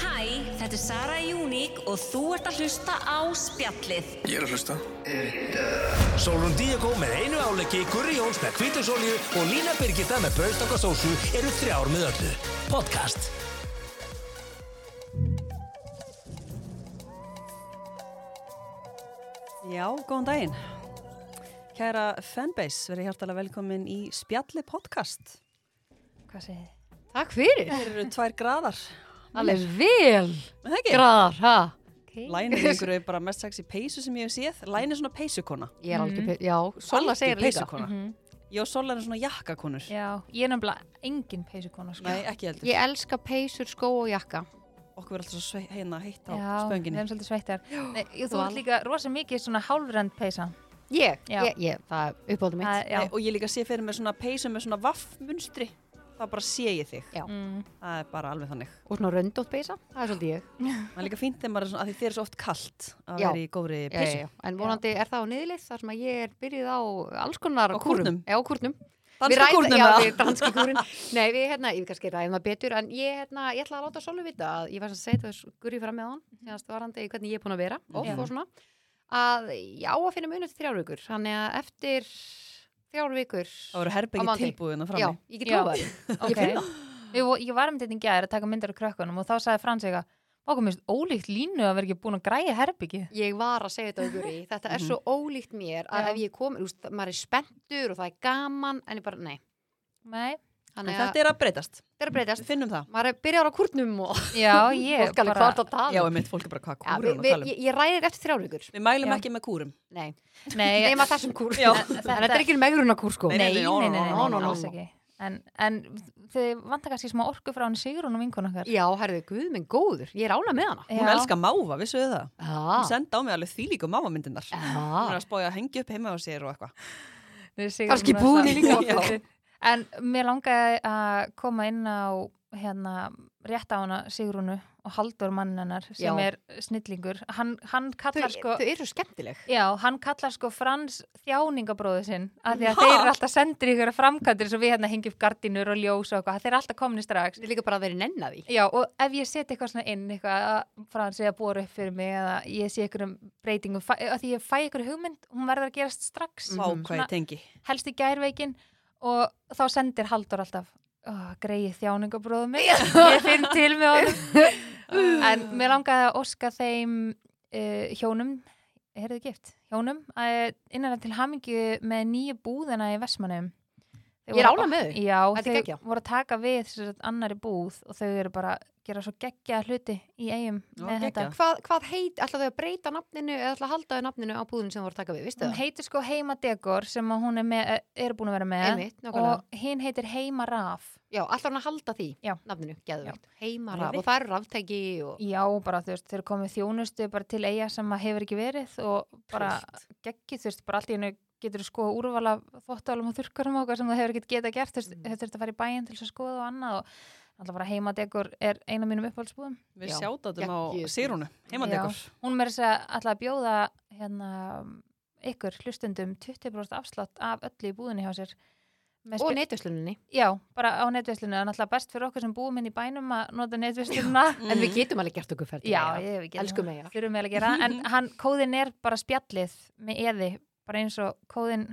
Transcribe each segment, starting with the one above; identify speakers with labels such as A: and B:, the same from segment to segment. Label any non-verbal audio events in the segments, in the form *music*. A: Þetta er Sara Júník og þú ert að hlusta á spjallið.
B: Ég er að hlusta
C: Sólrún Díakó með einu áleggi, Gurri Jóns með kvítusolju og Lína Birgitta með braustakasósu eru þrjár með öllu. Podcast.
D: Já, góðan daginn. Kæra fanbase, verið hjartalega velkomin í Spjalli podcast.
E: Hvað segið þið? Takk fyrir.
D: Þeir eru tvær graðar.
E: Alveg vel
D: Er Það ekki?
E: graðar, ha?
D: Læningur er bara mest sexy peysu sem ég hef séð. Læn er svona peysukona.
E: Ég er Mm. algjör, pe- já, Sola segir
D: Algjör
E: líka. Mhm.
D: peysukona. Jó, Sola er svona jakkakonur.
F: Já, ég er nefnilega engin peysukona sko.
D: Nei, ekki heldur.
E: Ég elska peysur, skó og jakka.
D: Okkur er alltaf svo svei- heina heitt á
F: Já, við
D: spönginni.
F: erum svolítið sveittar Nei, ég- Þú
E: Val.
F: ert líka rosa mikið svona hálfrend peysa
E: Ég,
F: Já.
E: ég, ég, það er uppáldum mitt.
F: Það- Já,
D: Nei, og ég líka sé fyrir með svona peysu með svona vaffmunstri. Það bara sé ég þig.
E: Já.
F: Mm.
D: Það er bara alveg þannig.
E: Og svona röndótt peysa, það er svolítið ég.
D: Það er líka fínt þegar maður er svona, að því þér er svo oft kalt að
E: Já.
D: vera í góðri
E: Já, já,
D: peysu.
E: já. En vonandi er það á niðurlið þar sem að ég er byrjuð á alls konar
D: Á kúrnum?
E: Já, á kúrnum. Við
D: Danska
E: ræðum-
D: kúrnum
E: Já,
D: eða?
E: við danski kúrin. Nei, við hérna, ég kannski ræðum það betur, en ég hérna, ég ætla að láta Sólu vita að ég var sem að segja gurri fram með hann, þannig að varandi í hvernig ég er búin að vera, off
D: Mhm. Já.
E: og svona, að já, að finna munið þrjár vikur, þannig að eftir þrjár vikur,
D: Það voru
E: Á
D: herbyggi
E: mándi.
D: tilbúin að
E: já,
D: hérna frammi.
E: ég get
F: Já.
E: lofa það.
F: ok Ég, vo- ég var um þetta í gær að taka myndir af krökkunum og þá sagði Frans eitthvað Okkur minnst ólíkt línu að vera ekki búin að græja herbyggi
E: Ég var að segja þetta á gurri, þetta
D: Mhm.
E: er svo ólíkt mér að
F: Já.
E: ef ég kom, þú veist, maður er spenntur og það er gaman, en ég bara, nei.
F: Nei,
D: En
E: Þannig að
D: þetta er að breytast.
E: þetta er að breytast.
D: Við finnum það.
E: maður er- byrjar á kúrnum og *laughs*
F: já, ég
E: fólk alveg hvað ertu að tala
D: Já, ég
E: um?
D: mynd fólk er bara hvað
E: Já,
D: kúrum
E: við-
D: að
E: við-
D: tala um.
E: ég, ég ræðir eftir þrjálfugur
D: Við mælum
F: Já.
D: ekki með kúrum.
E: Nei,
F: Nei,
E: nema þessum kúr
D: Já.
E: En *laughs* þetta er ekki megruna kúr sko
D: Nei,
F: Nei, nei, nei, nei,
D: no,
E: no,
F: nei,
E: no,
F: nei,
E: no.
F: alls ekki En, en þið vantar kannski smá orku frá hann Sigrun og vinkun okkar
E: Já, herðu, guð minn góður, ég er ána með hana
D: Hún
F: Já.
D: elskar máva, vissuðu það? Hún
E: Já,
D: senda á mig alveg þýlíku mávamyndirnar. Hún er
E: já
D: að spája að hengja upp heima á sér og eitthvað.
F: Nei, Sigrún
E: Kannski
F: var
E: búðinni
F: það-
E: líka.
F: Já. En mér langaði að koma inn á hérna, rétt á hana Sigrúnu og Haldur mann hennar sem
E: Já.
F: er snillingur. Hann, hann
E: Þau,
F: kallar sko...
E: þau eru skemmtileg
F: Já, hann kallar sko Frans þjáningabróðu sinn af því að þeir eru alltaf sendir í ykkur framkantir svo við hérna hengi upp gardinur og ljós og eitthvað þeir eru alltaf komni strax
E: Ég líka bara að vera nenn að því
F: Já, og ef ég seti eitthvað svona inn eitthvað að Frans eða bóra upp fyrir mig eða ég sé einhverjum breytingum fæ, að því ég fæ ykkur hugmynd, hún verður að gerast strax
D: Vá,
E: Mhm.
D: hvað
F: Svona-
D: ég tengi.
F: helst í gærveikin og þá sendir Haldur alltaf oh, greið þjáningabróðu
E: *laughs*
F: mig ég finn til með
E: Uh.
F: honum en mér langaði að óska þeim uh, hjónum er þið gift? Hjónum að innan til hamingju með nýju búðina í Vestmanum
E: Ég er ánægð með þau.
F: Já,
E: Þetta er
F: þau
E: geggjað.
F: voru að taka við sem sagt, annari búð og þau eru bara að gera svo geggja hluti í eigum
D: Já,
F: með þetta
D: geggjað.
E: Hvað, hvað heit, ætla þau að breyta nafninu eða ætla að halda þau nafninu á búðinu sem þú voru að taka við, vistu
F: Hún
E: það?
F: heitir sko Heima Degor sem að hún er, með, er búin að vera með
E: Einmitt, nákvæmlega.
F: og hinn heitir Heima Raf
E: Já, ætla hún að halda því
F: Já.
E: nafninu, geðvegt Heima
D: Nei,
E: raf
D: við-
E: og það eru ráftæki og
F: Já, bara þú veist, þeir eru komið þjónustu bara til eiga sem að hefur ekki verið og bara geggið, þú veist, bara allt í hennu getur þú skoða úrvala þóttálum og þurrkarum og okkar sem þú hefur ekkert getað gert, þú veist, mm. þurft að fara í bæinn til þess að skoða og annað og alltaf bara heimadegur er eina mínum uppáhaldsbúðum.
D: Við
E: Já.
D: sjátatum á
E: Geggjuð.
D: sírunu, heimandekur.
F: Hún meira þess að alltaf að bjóða hérna ykkur hlustundum 20% afslátt af öllu í búðinni hjá sér. Með
E: og
F: spe-
E: netusluninni
F: Já, bara á netvislinu, en alltaf best fyrir okkur sem búum inn í bænum að nota netvisluna. *laughs*
E: En við getum alveg gert okkur ferdi
F: Já, ég hef ekki
E: Elsku meira.
F: Þurfum eiginlega að gera það,
E: *laughs*
F: En hann, kóðin er bara spjallið með eði Bara eins og kóðin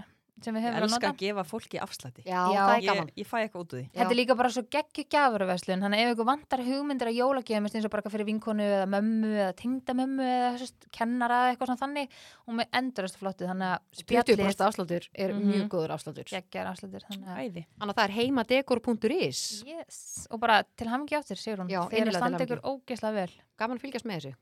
F: sem við
D: Ég
F: höfum verið að
D: elska
F: nota
D: að gefa fólki afslæti.
E: Já,
F: Já,
E: það er
D: Ég,
E: gaman
D: ég fæ eitthvað út úr því.
F: Þetta er líka bara svo geggju gjafurverslun Þannig að ef ykkur vantar hugmyndir að jólagjöfum eins og bara eitthvað fyrir vinkonu eða mömmu eða tengdamömmu eða þú veist, kennara eða eitthvað svona þannig hún með endurist flottu þannig að
E: 20%
F: spjallið
E: afsláttur er
F: Mhm.
E: mjög góður afsláttur
F: geggjar afslutur þannig að
D: Æði.
E: Þannig að það er heimadekor.is
F: yes. og bara til hamingi áttir segir hún
E: Já,
F: þeir
E: innilega til
F: standa
E: hamingju. Mhm.
F: ykkur ógislega vel
E: Gaman að fylgjast með þessu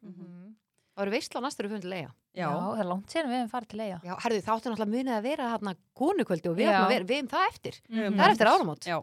E: Það eru veistla næstur við fundið leiða
D: Já.
F: Já, það er langt síðan við hefum farið til eiga
E: Já, herðu, þá áttu náttúrulega munið að vera hérna konukvöldi og við
F: Já.
E: áttum að vera, við um það eftir
D: Mhm.
E: Það er eftir áramót
D: Já.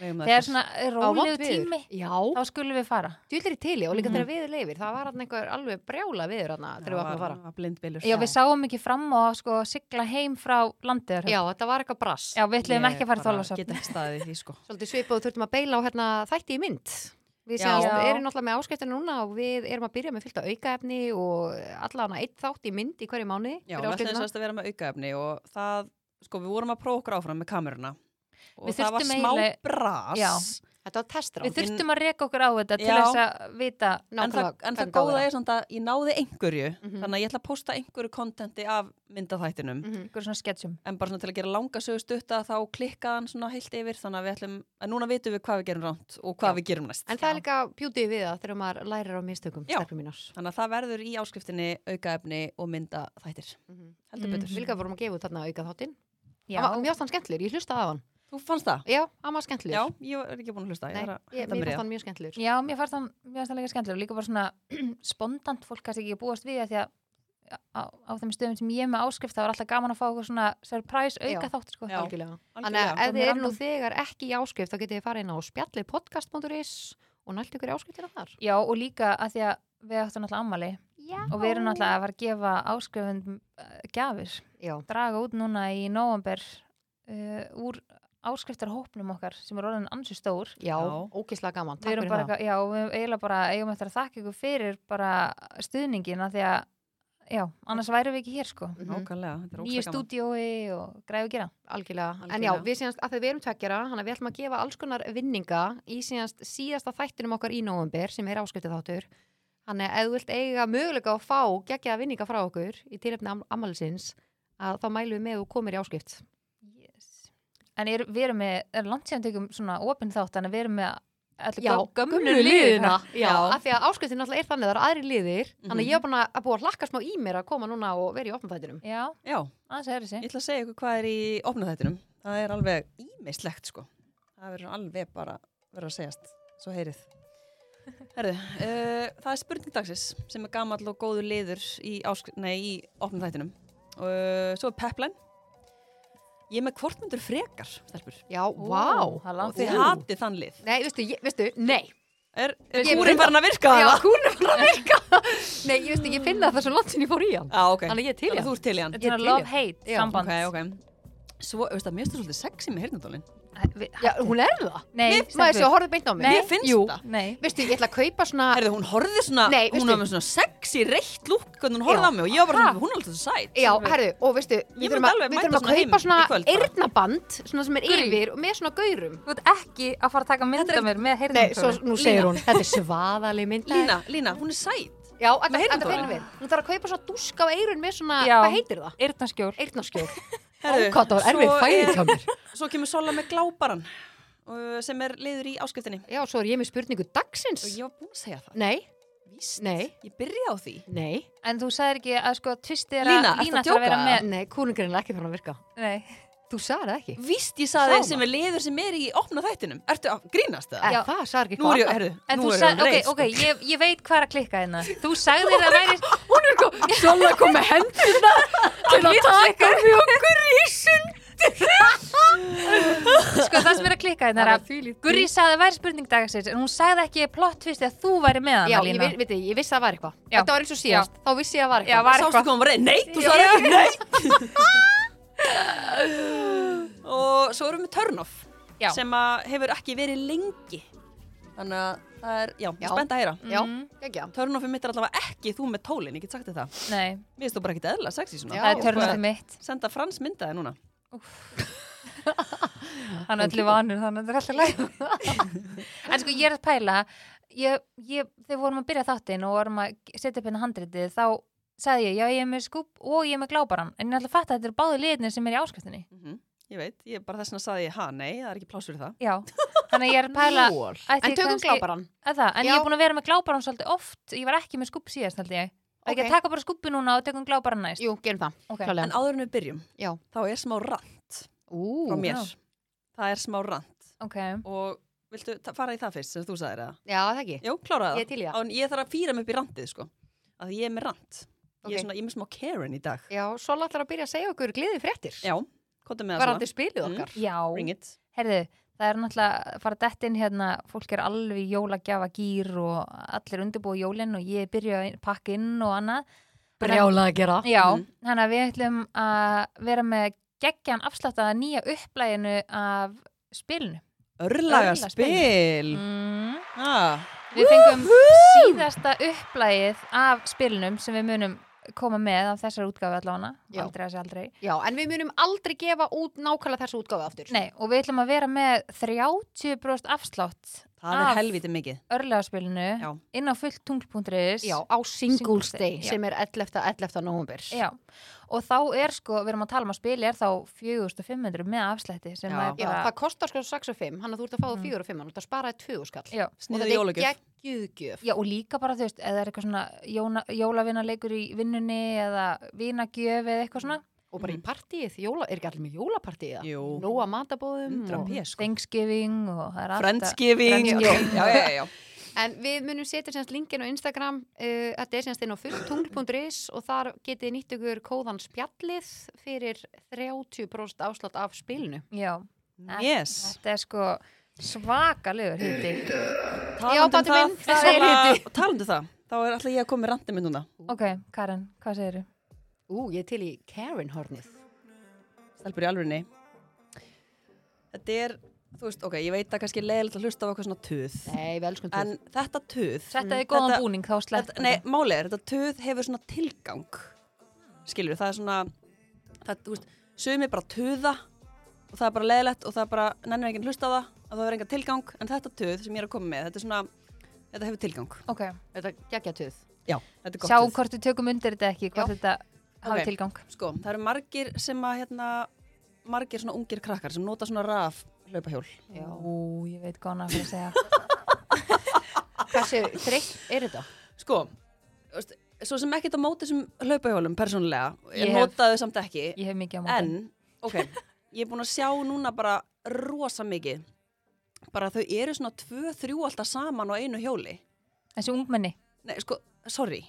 D: Eigum það
F: Þegar
D: eftir.
F: svona
E: Á vont
F: rólegu
E: veður.
F: tími
E: Já,
F: þá skulum við fara
E: djúlir í tili og líka þegar við leifir Það var hérna einhver alveg brjála viður hérna þegar við áttum að fara
D: Það var blindbylur.
F: Já, við sáum ekki fram á að sko, sigla heim frá landiðar.
E: Já, þetta var eitthvað brass
F: Já, við ætlum ekki að fara í
D: Ég
F: þólasöfn.
D: get ekki staðið í því,
E: *laughs*
D: sko.
E: Svolítið svipað og þurftum að beila á hérna, þætti í mynd. Við
D: Já.
E: séum,
F: Já.
E: erum náttúrulega með áskiptina núna og við erum að byrja með fylgta aukaefni og allan að eitt þátt í mynd í hverju mánu.
D: Já, við ætlum þess að vera með aukaefni og það, sko, við vorum að prófa okkur áfram með kameruna og
F: Við
D: það var
F: þurftum
D: smá
F: eiginlega-
D: bras
F: Já.
E: Þetta var testrán.
F: Við þurftum að reka okkur á þetta til
D: Já.
F: þess að vita
D: En það,
E: Nákvæmlega,
D: en það
E: hvernig á
D: góða
E: þeirra.
D: er samt að ég náði einhverju
E: Mhm.
D: þannig að ég ætla að posta einhverju kontenti af myndaþættinum
E: Mhm.
F: ykkur svona sketsjum.
D: en bara svona til að gera langa sögu stutta þá klikkaði hann svona heilt yfir þannig að við ætlum að núna vitum við hvað við gerum ránt og hvað
E: Já.
D: við gerum næst
E: En það er líka beauty við það þegar maður lærir á mistökum,
D: Já.
E: stelpum mínars.
D: Þannig að það verður í áskriftinni aukaefni og myndaþættir heldur
F: Mhm.
D: betur
E: Við líka vorum að gefa út þarna auka þáttinn.
F: Já,
E: Hann var- Mér fannst hann skemmtlur, ég hlustaði á hann.
D: Þú fannst það?
E: Já, hann var skemmtlur.
D: Já, ég er ekki búin að hlusta, ég
E: Nei,
D: er að
E: ég,
D: henda mér í
E: mér fannst
D: það.
E: hann mjög skemmtlur.
F: já mér fannst það, mér fannst það líka skemmtilega og líka bara svona *clears throat* spondant fólk kannski ekki að búast við að því að á, á þeim stöðum sem ég er með áskrift þá er alltaf gaman að fá okkur svona surprise auka
E: Já.
F: þátt sko.
D: Já.
E: Algjörlega. Þannig
D: Algjörlega.
E: að ef
F: Komum
E: þið eru
F: random.
E: nú þegar ekki í áskrift þá getið þið farið inn á spjallipodcast.is og nælt ykkur í áskriftina þar.
F: Já, og líka að því að við áttum náttúrulega ammali
E: Já.
F: og við erum náttúrulega að fara að gefa áskrifund gjafir,
E: Já,
F: draga út núna í nóvamber uh, úr áskriftarhópnum okkar sem er orðin ansi stór
E: já,
D: Já.
E: ógislega gaman.
F: við
E: Takk
F: erum
E: fyrir
F: bara,
E: það.
F: eitthvað- já, og við eiginlega bara eigum eftir að þakka ykkur fyrir bara stuðningin að því að, já, annars værum við ekki hér sko
E: Mhm,
D: Nákvæmlega, þetta er
F: nýju
D: ókslega gaman.
F: stúdíói og græðu gera
E: Algjörlega. En já,
D: Algjörlega.
E: við síðanst, að því við erum tveggjara, hann að við ætlum að gefa alls konar vinninga í síðanst síðasta þættinum okkar í nóvumber sem er áskriftið þáttur. Þannig að ef þú vilt eiga möguleika að fá geggjaða vinninga frá okkur í tilefni am ammælisins, að þá mælum við með og komir í áskrift.
F: yes. en er, við erum með, er langt síðan tökum svona opin þátt, þannig að við erum með allir
E: Já,
F: gö- hérna.
E: gömlu liðina. Já, Mhm.
F: já,
E: af því að áskriftin náttúrulega er þannig, það eru aðri liðir, þannig að ég er búin að búa að hlakka smá í mér að koma núna og vera í opnfættinum.
F: já,
D: Já,
F: aðeins er þessi
D: ég ætla að segja ykkur hvað er í opnaþættinum. Það er alveg ímislegt sko. Það verður alveg bara verður að segjast, svo heyrið. Herðu, uh, það er spurning dagsins sem er gamall og góður liður í, ásk- nei, í opnaþættinum. Uh, svo er pepline. Ég er með hvort myndur frekar, stelpur.
E: Já, vá.
F: það er
D: Og
F: langt
D: þið
F: síðan.
D: hatið þann lið.
E: Nei, veistu, ég, veistu, nei.
D: Er, er
E: Ég-
D: kúrin farin að virka
E: Já,
D: *laughs* það?
E: hún er bara að virka. nei, ég veistu, ég finna það svo langt sem ég fór í hann.
D: Já, ok.
E: Þannig að ég er til í
D: Þannig
E: hann.
D: að þú ert til í hann.
F: Þetta er
E: Ég
F: svona
E: til í
F: love-hate
E: Já,
F: samband
D: Ok, ok. Svo, veist það, mér finnst það svolítið sexy með heyrnardólinn.
F: Við-
E: Já, hún er það.
F: Nei,
E: Maður sé
F: stelpur.
E: að horfa beint á mig.
F: Nei.
D: Mér finnst
E: Jú.
D: það.
F: Nei,
E: Veistu, ég ætla að kaupa svona,
D: Herðu, hún horfði svona,
E: Nei,
D: hún
E: veistu-
D: var með svona sexy, reitt lúk hvernig hún horfði
E: Já.
D: á mig og ég var bara svona, hún er alltaf svo sæt.
E: já, herðu, og veistu,
D: Ég
E: við þurfum
D: myndi
E: að,
D: alveg
E: við
D: mæta
E: þurfum að
D: svona heim
E: kaupa
D: í
E: svona
D: kvöld bara.
E: eyrnaband, svona sem er yfir og með svona gaurum.
F: þú ert ekki að fara að taka mynd af mér með
E: Nei, svo
F: heyrðum
E: nú segir hún, þetta er svaðaleg mynd.
D: Lína, Lína, hún er sæt.
E: Já, þetta
D: Með
E: þetta
D: heyrnartól.
E: finnum við. Hún þarf að kaupa svona dúsk á eyrun með svona,
F: Já.
E: hvað heitir það?
F: Eyrnaskjól
E: *laughs* Eyrnaskjól.
D: Herðu,
E: Ókvæmt, það var erfið
D: svo
E: fæðið
D: er-
E: hjá mér.
D: Svo kemur Sola með glábaran uh, sem er liður í áskiptinni.
E: Já, svo er ég með spurningu dagsins.
D: Og ég var búin að segja það.
E: Nei,
D: Víst.
E: Nei.
D: Ég byrja á því.
E: nei,
F: En þú sagðir ekki að sko tvistið er að
D: Lína, ertu að
F: þarf að vera
D: djóka?
F: með
E: nei, kúlingurinn er ekki farin að virka.
F: Nei,
E: Þú sagði það ekki.
D: Víst ég saði
E: Sama.
D: þér sem er liður sem er í opna þættinum. Ertu að grínast það?
E: En
F: Já.
E: það sagði ekki
D: Nú er ég,
E: annað.
D: herðu,
F: Eh. en
D: nú
F: þú
D: er ég sko.
F: sagði, ok,
D: reitt.
F: ok, ég, ég veit hvað er að klikka hérna Þú sagðir að væri
E: sko.
F: Hérna,
E: Hún er kom, Sola kom með hendurna til að taka við okkur í sund.
F: Sko það sem er að klikka hérna er
E: Bara
F: að
E: þvílíkt.
F: Gurri sagði að væri spurning dagsins En hún sagði ekki plott tvistið að þú væri með
E: Já,
F: hana
E: ég,
F: Lína
E: vi- veit, ég, ég vissi að það var eitthvað.
F: Já.
E: Þetta var eins og síðast, þá vissi ég að það var
F: Já,
E: eitthvað.
F: var
D: Sástu
F: eitthvað
D: hvað hún var reið? Nei, þú sagði ekki, nei
F: *laughs*
D: *laughs* Og svo erum við Törnoff
F: Já.
D: sem að hefur ekki verið lengi Þannig að það er, já, ég
E: Já.
D: er spennt að heyra
E: Já, ekki,
D: Törnoffi mitt er allavega ekki þú með tólin, ég get sagt þér það
F: Nei,
D: Mér finnst þú bara ekki eðla sexy svona
E: Já, sko.
F: það er
D: Eitthvað-
F: törnum mitt
D: Senda frans myndaði núna
F: Hann er allir vanur, þannig að þetta er alltaf læg *laughs* En sko ég er að pæla ég, ég, Þegar við vorum að byrja þáttinn og vorum að setja upp hérna handritið þá sagði ég, já ég er með skúp og ég er með glábaran en ég ætla að fatta að þetta eru báðu liðinir sem er í áskriftinni
D: Mhm. Ég veit, ég bara þess vegna saði ég, ha, nei, það er ekki pláss fyrir það
F: Já, þannig að ég er að pæla
E: *laughs* Lol.
F: ætti
E: En tökum
F: kannski-
E: gláparan.
F: að það, en
E: Já.
F: ég er búin að vera með glábaran svolítið oft, ég var ekki með skúp síðast held ég ekki
E: Ok.
F: að taka bara skúpi núna og tökum glábaran næst
E: Jú, gerum það.
F: Ok.
E: klárlega.
D: En áður en við byrjum,
E: Já.
D: þá er smá rant
E: Ú,
D: frá mér
F: já.
D: Það er smá rant
F: Ok,
D: Og viltu ta- fara í það fyrst sem þú sagðir það?
E: Já, það ekki.
D: Jú, kláraði það.
E: Ég er til í það.
D: En ég þarf að fýra mig upp í rantið, sko. Af því ég er með rant. Ég
E: Ok.
D: er svona, ég er með smá Karen í dag.
E: Já, Sola ætlar að byrja að segja okkur gliði fréttir.
D: Já, kontum með það
E: Varandi spilið
D: Mm.
E: okkar.
F: já,
D: Bring it.
F: herðu það er náttúrulega að fara dett inn hérna fólk er alveg í jólagjafa gýr og allir undirbúið jólinn og ég byrja að pakka inn og annað
E: Brjála að gera.
F: Já,
D: Mhm.
F: þannig að við ætlum að vera með geggjan afslátt að nýja upplæginu af spilinu
D: Örlaga
F: Örlaga
D: spil.
F: mm.
D: Ah,
F: Við fengum síðasta upplægið af spilinum sem við munum koma með af þessar útgáfi allavega,
E: Já.
F: aldrei að sé aldrei.
E: Já, en við munum aldrei gefa út nákvæmlega þessu útgáfi aftur.
F: Nei, og við ætlum að vera með 30% afslátt
D: Það
F: Af-
D: er helvítið mikið.
F: örlegaspilinu
D: Já.
F: inn á fullt tungl.is
E: Já, á Singles
F: Singles Day,
E: Day
F: já.
E: sem er 11. 11. november.
F: Já. og þá er sko, við erum að tala um að spila er þá 4500 með afslætti sem
D: Já.
F: já. er
E: Já,
F: bara Mhm.
E: það kostar sko 6 og 5, hann að þú ert að fá þú 4 og 5, hann ert að spara 2 skall.
F: já.
E: og
D: Sniðu
E: þetta er
D: jólugjöf.
E: geggjöðgjöf.
F: já, og líka bara þú veist, eða er eitthvað svona jóna, jólavinarleikur í vinnunni eða vinagjöf eða eitthvað svona
E: Og bara í partíið, jóla, er ekki allir með jólapartíið það?
D: Mhm. Jú.
E: Nóa matabóðum.
D: 100
E: og-
D: pés, sko.
F: Thanksgiving og það er alltaf
D: Friendsgiving.
F: Friendsgiving.
D: Já, já, já, já.
E: En við munum setja semst linkin á Instagram, uh, þetta er semst inn á fulltungl.is og þar getið þið nýtt ykkur kóðan spjallið fyrir 30% afslátt af spilinu.
F: Já,
D: Yes.
F: þetta er sko svakalegur hýtti
E: Já,
D: Talandi um
E: Baddi
D: það,
E: minn,
D: það
E: segir
D: er að, talandi um það, þá er alltaf ég að koma með randi minn núna.
F: Ok, Karen, hvað segir þú?
E: Ú, ég er til í Karen hornið.
D: Stelpur í alvörinni. Þetta er, þú veist, ok, ég veit að kannski er leiðilegt að hlusta á eitthvað svona tuð.
E: Nei, við elskum þú.
D: En þetta tuð,
F: Þetta er góðan
D: Mm, Þetta-
F: búning, þá sleppt
D: þetta, nei, málið er, þetta tuð hefur svona tilgang. Skilur, það er svona, það, þú veist, sumi bara tuða og það er bara leiðilegt og það er bara, nennir enginn að hlusta á það, að það er enga tilgang, en þetta tuð sem ég er að koma með, þetta er svona, þetta hefur tilgang.
F: Ok,
E: Þetta geggja töð.
D: Já, þetta er gott
F: sjá
D: tuð.
F: hvort við tökum undir þetta ekki, hvort þetta hafi
D: Ok.
F: tilgang
D: sko, það eru margir sem að hérna, margir svona ungir krakkar sem nota svona raf hlaupahjól
E: Já.
F: Ú, ég veit góðan að fyrir
D: *laughs*
F: að segja
E: Hversu þreytt er þetta?
D: sko, þú veist, svo sem ekkert á móti sem hlaupahjólum persónulega,
F: Ég
D: ég
F: hef-
D: notaði þau samt ekki
F: Ég hef mikið á móti
D: en,
F: *laughs*
D: ok, ég er búin að sjá núna bara rosa mikið bara þau eru svona tvö, þrjú alltaf saman á einu hjóli
F: Þessi ungmenni
D: nei, sko, sorry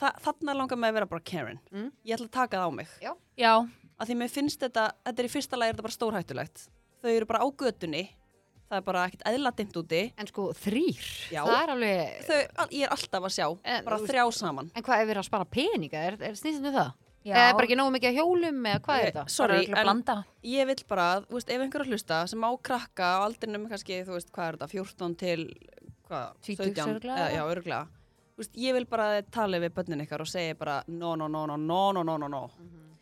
D: Þa, þarna langar mig að vera bara Karen
E: Mm.
D: ég ætla að taka það á mig
F: Já,
D: að því mér finnst þetta, þetta er í fyrsta lagi er þetta bara stórhættulegt þau eru bara á götunni það er bara ekkert eðla dimt úti
E: En sko, þrýr.
D: Já.
E: Það er alveg...
D: þau, al- ég er alltaf að sjá,
E: En,
D: bara
E: þú veist-
D: þrjá saman
E: En hvað er verið að spara peninga? Er, er snýstum við það?
F: já
E: Eða er bara ekki nógu mikið að hjólum eða hvað
D: Ok,
E: er þetta?
F: Bara
D: Eh, Sorry,
F: örugglega
D: en
F: blanda
D: ég vil bara, þú veist, ef einhver er að hlusta sem á krakka á aldrinum kannski, þú veist, hvað er þetta, 14 til hvað,
F: 20 örugglega?
D: eða, já, örglega þú veist, ég vil bara að þið talið við bönnin ykkar og segja bara, no, no, no, no, no, no, no, no, no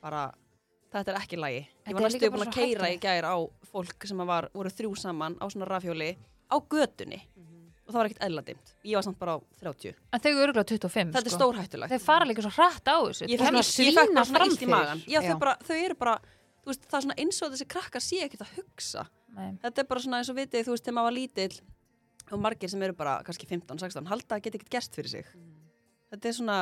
D: bara, þetta er ekki lægi
F: Mhm. Þetta
D: ég var
F: er
D: næstu
F: líka
D: búin
F: bara
D: að
F: svo
D: keira í gær á fólk sem að var, voru þrjú saman á svona rafhjóli á götunni
F: Mhm.
D: og það var ekkert eðladimt, ég var samt bara á 30
F: En þau eru örgulega 25
D: þetta er
F: sko.
D: stórhættulegt
F: Þau fara líka svo hrætt á þessu
D: ég
E: Það
D: fekk
E: er svona
D: ég fekk
E: svína
D: bara svona
E: fram
D: illt í
E: fyrir.
D: magan já,
E: Já.
D: Þau, bara, þau eru bara, þú veist, það er svona eins og þessi krakkar sé ekkert að hugsa
F: Nei.
D: þetta er bara svona eins og vitið, þú veist, þegar maður var lítill og margir sem eru bara kannski 15, 16 halda að geta ekkert gerst fyrir sig þetta er svona,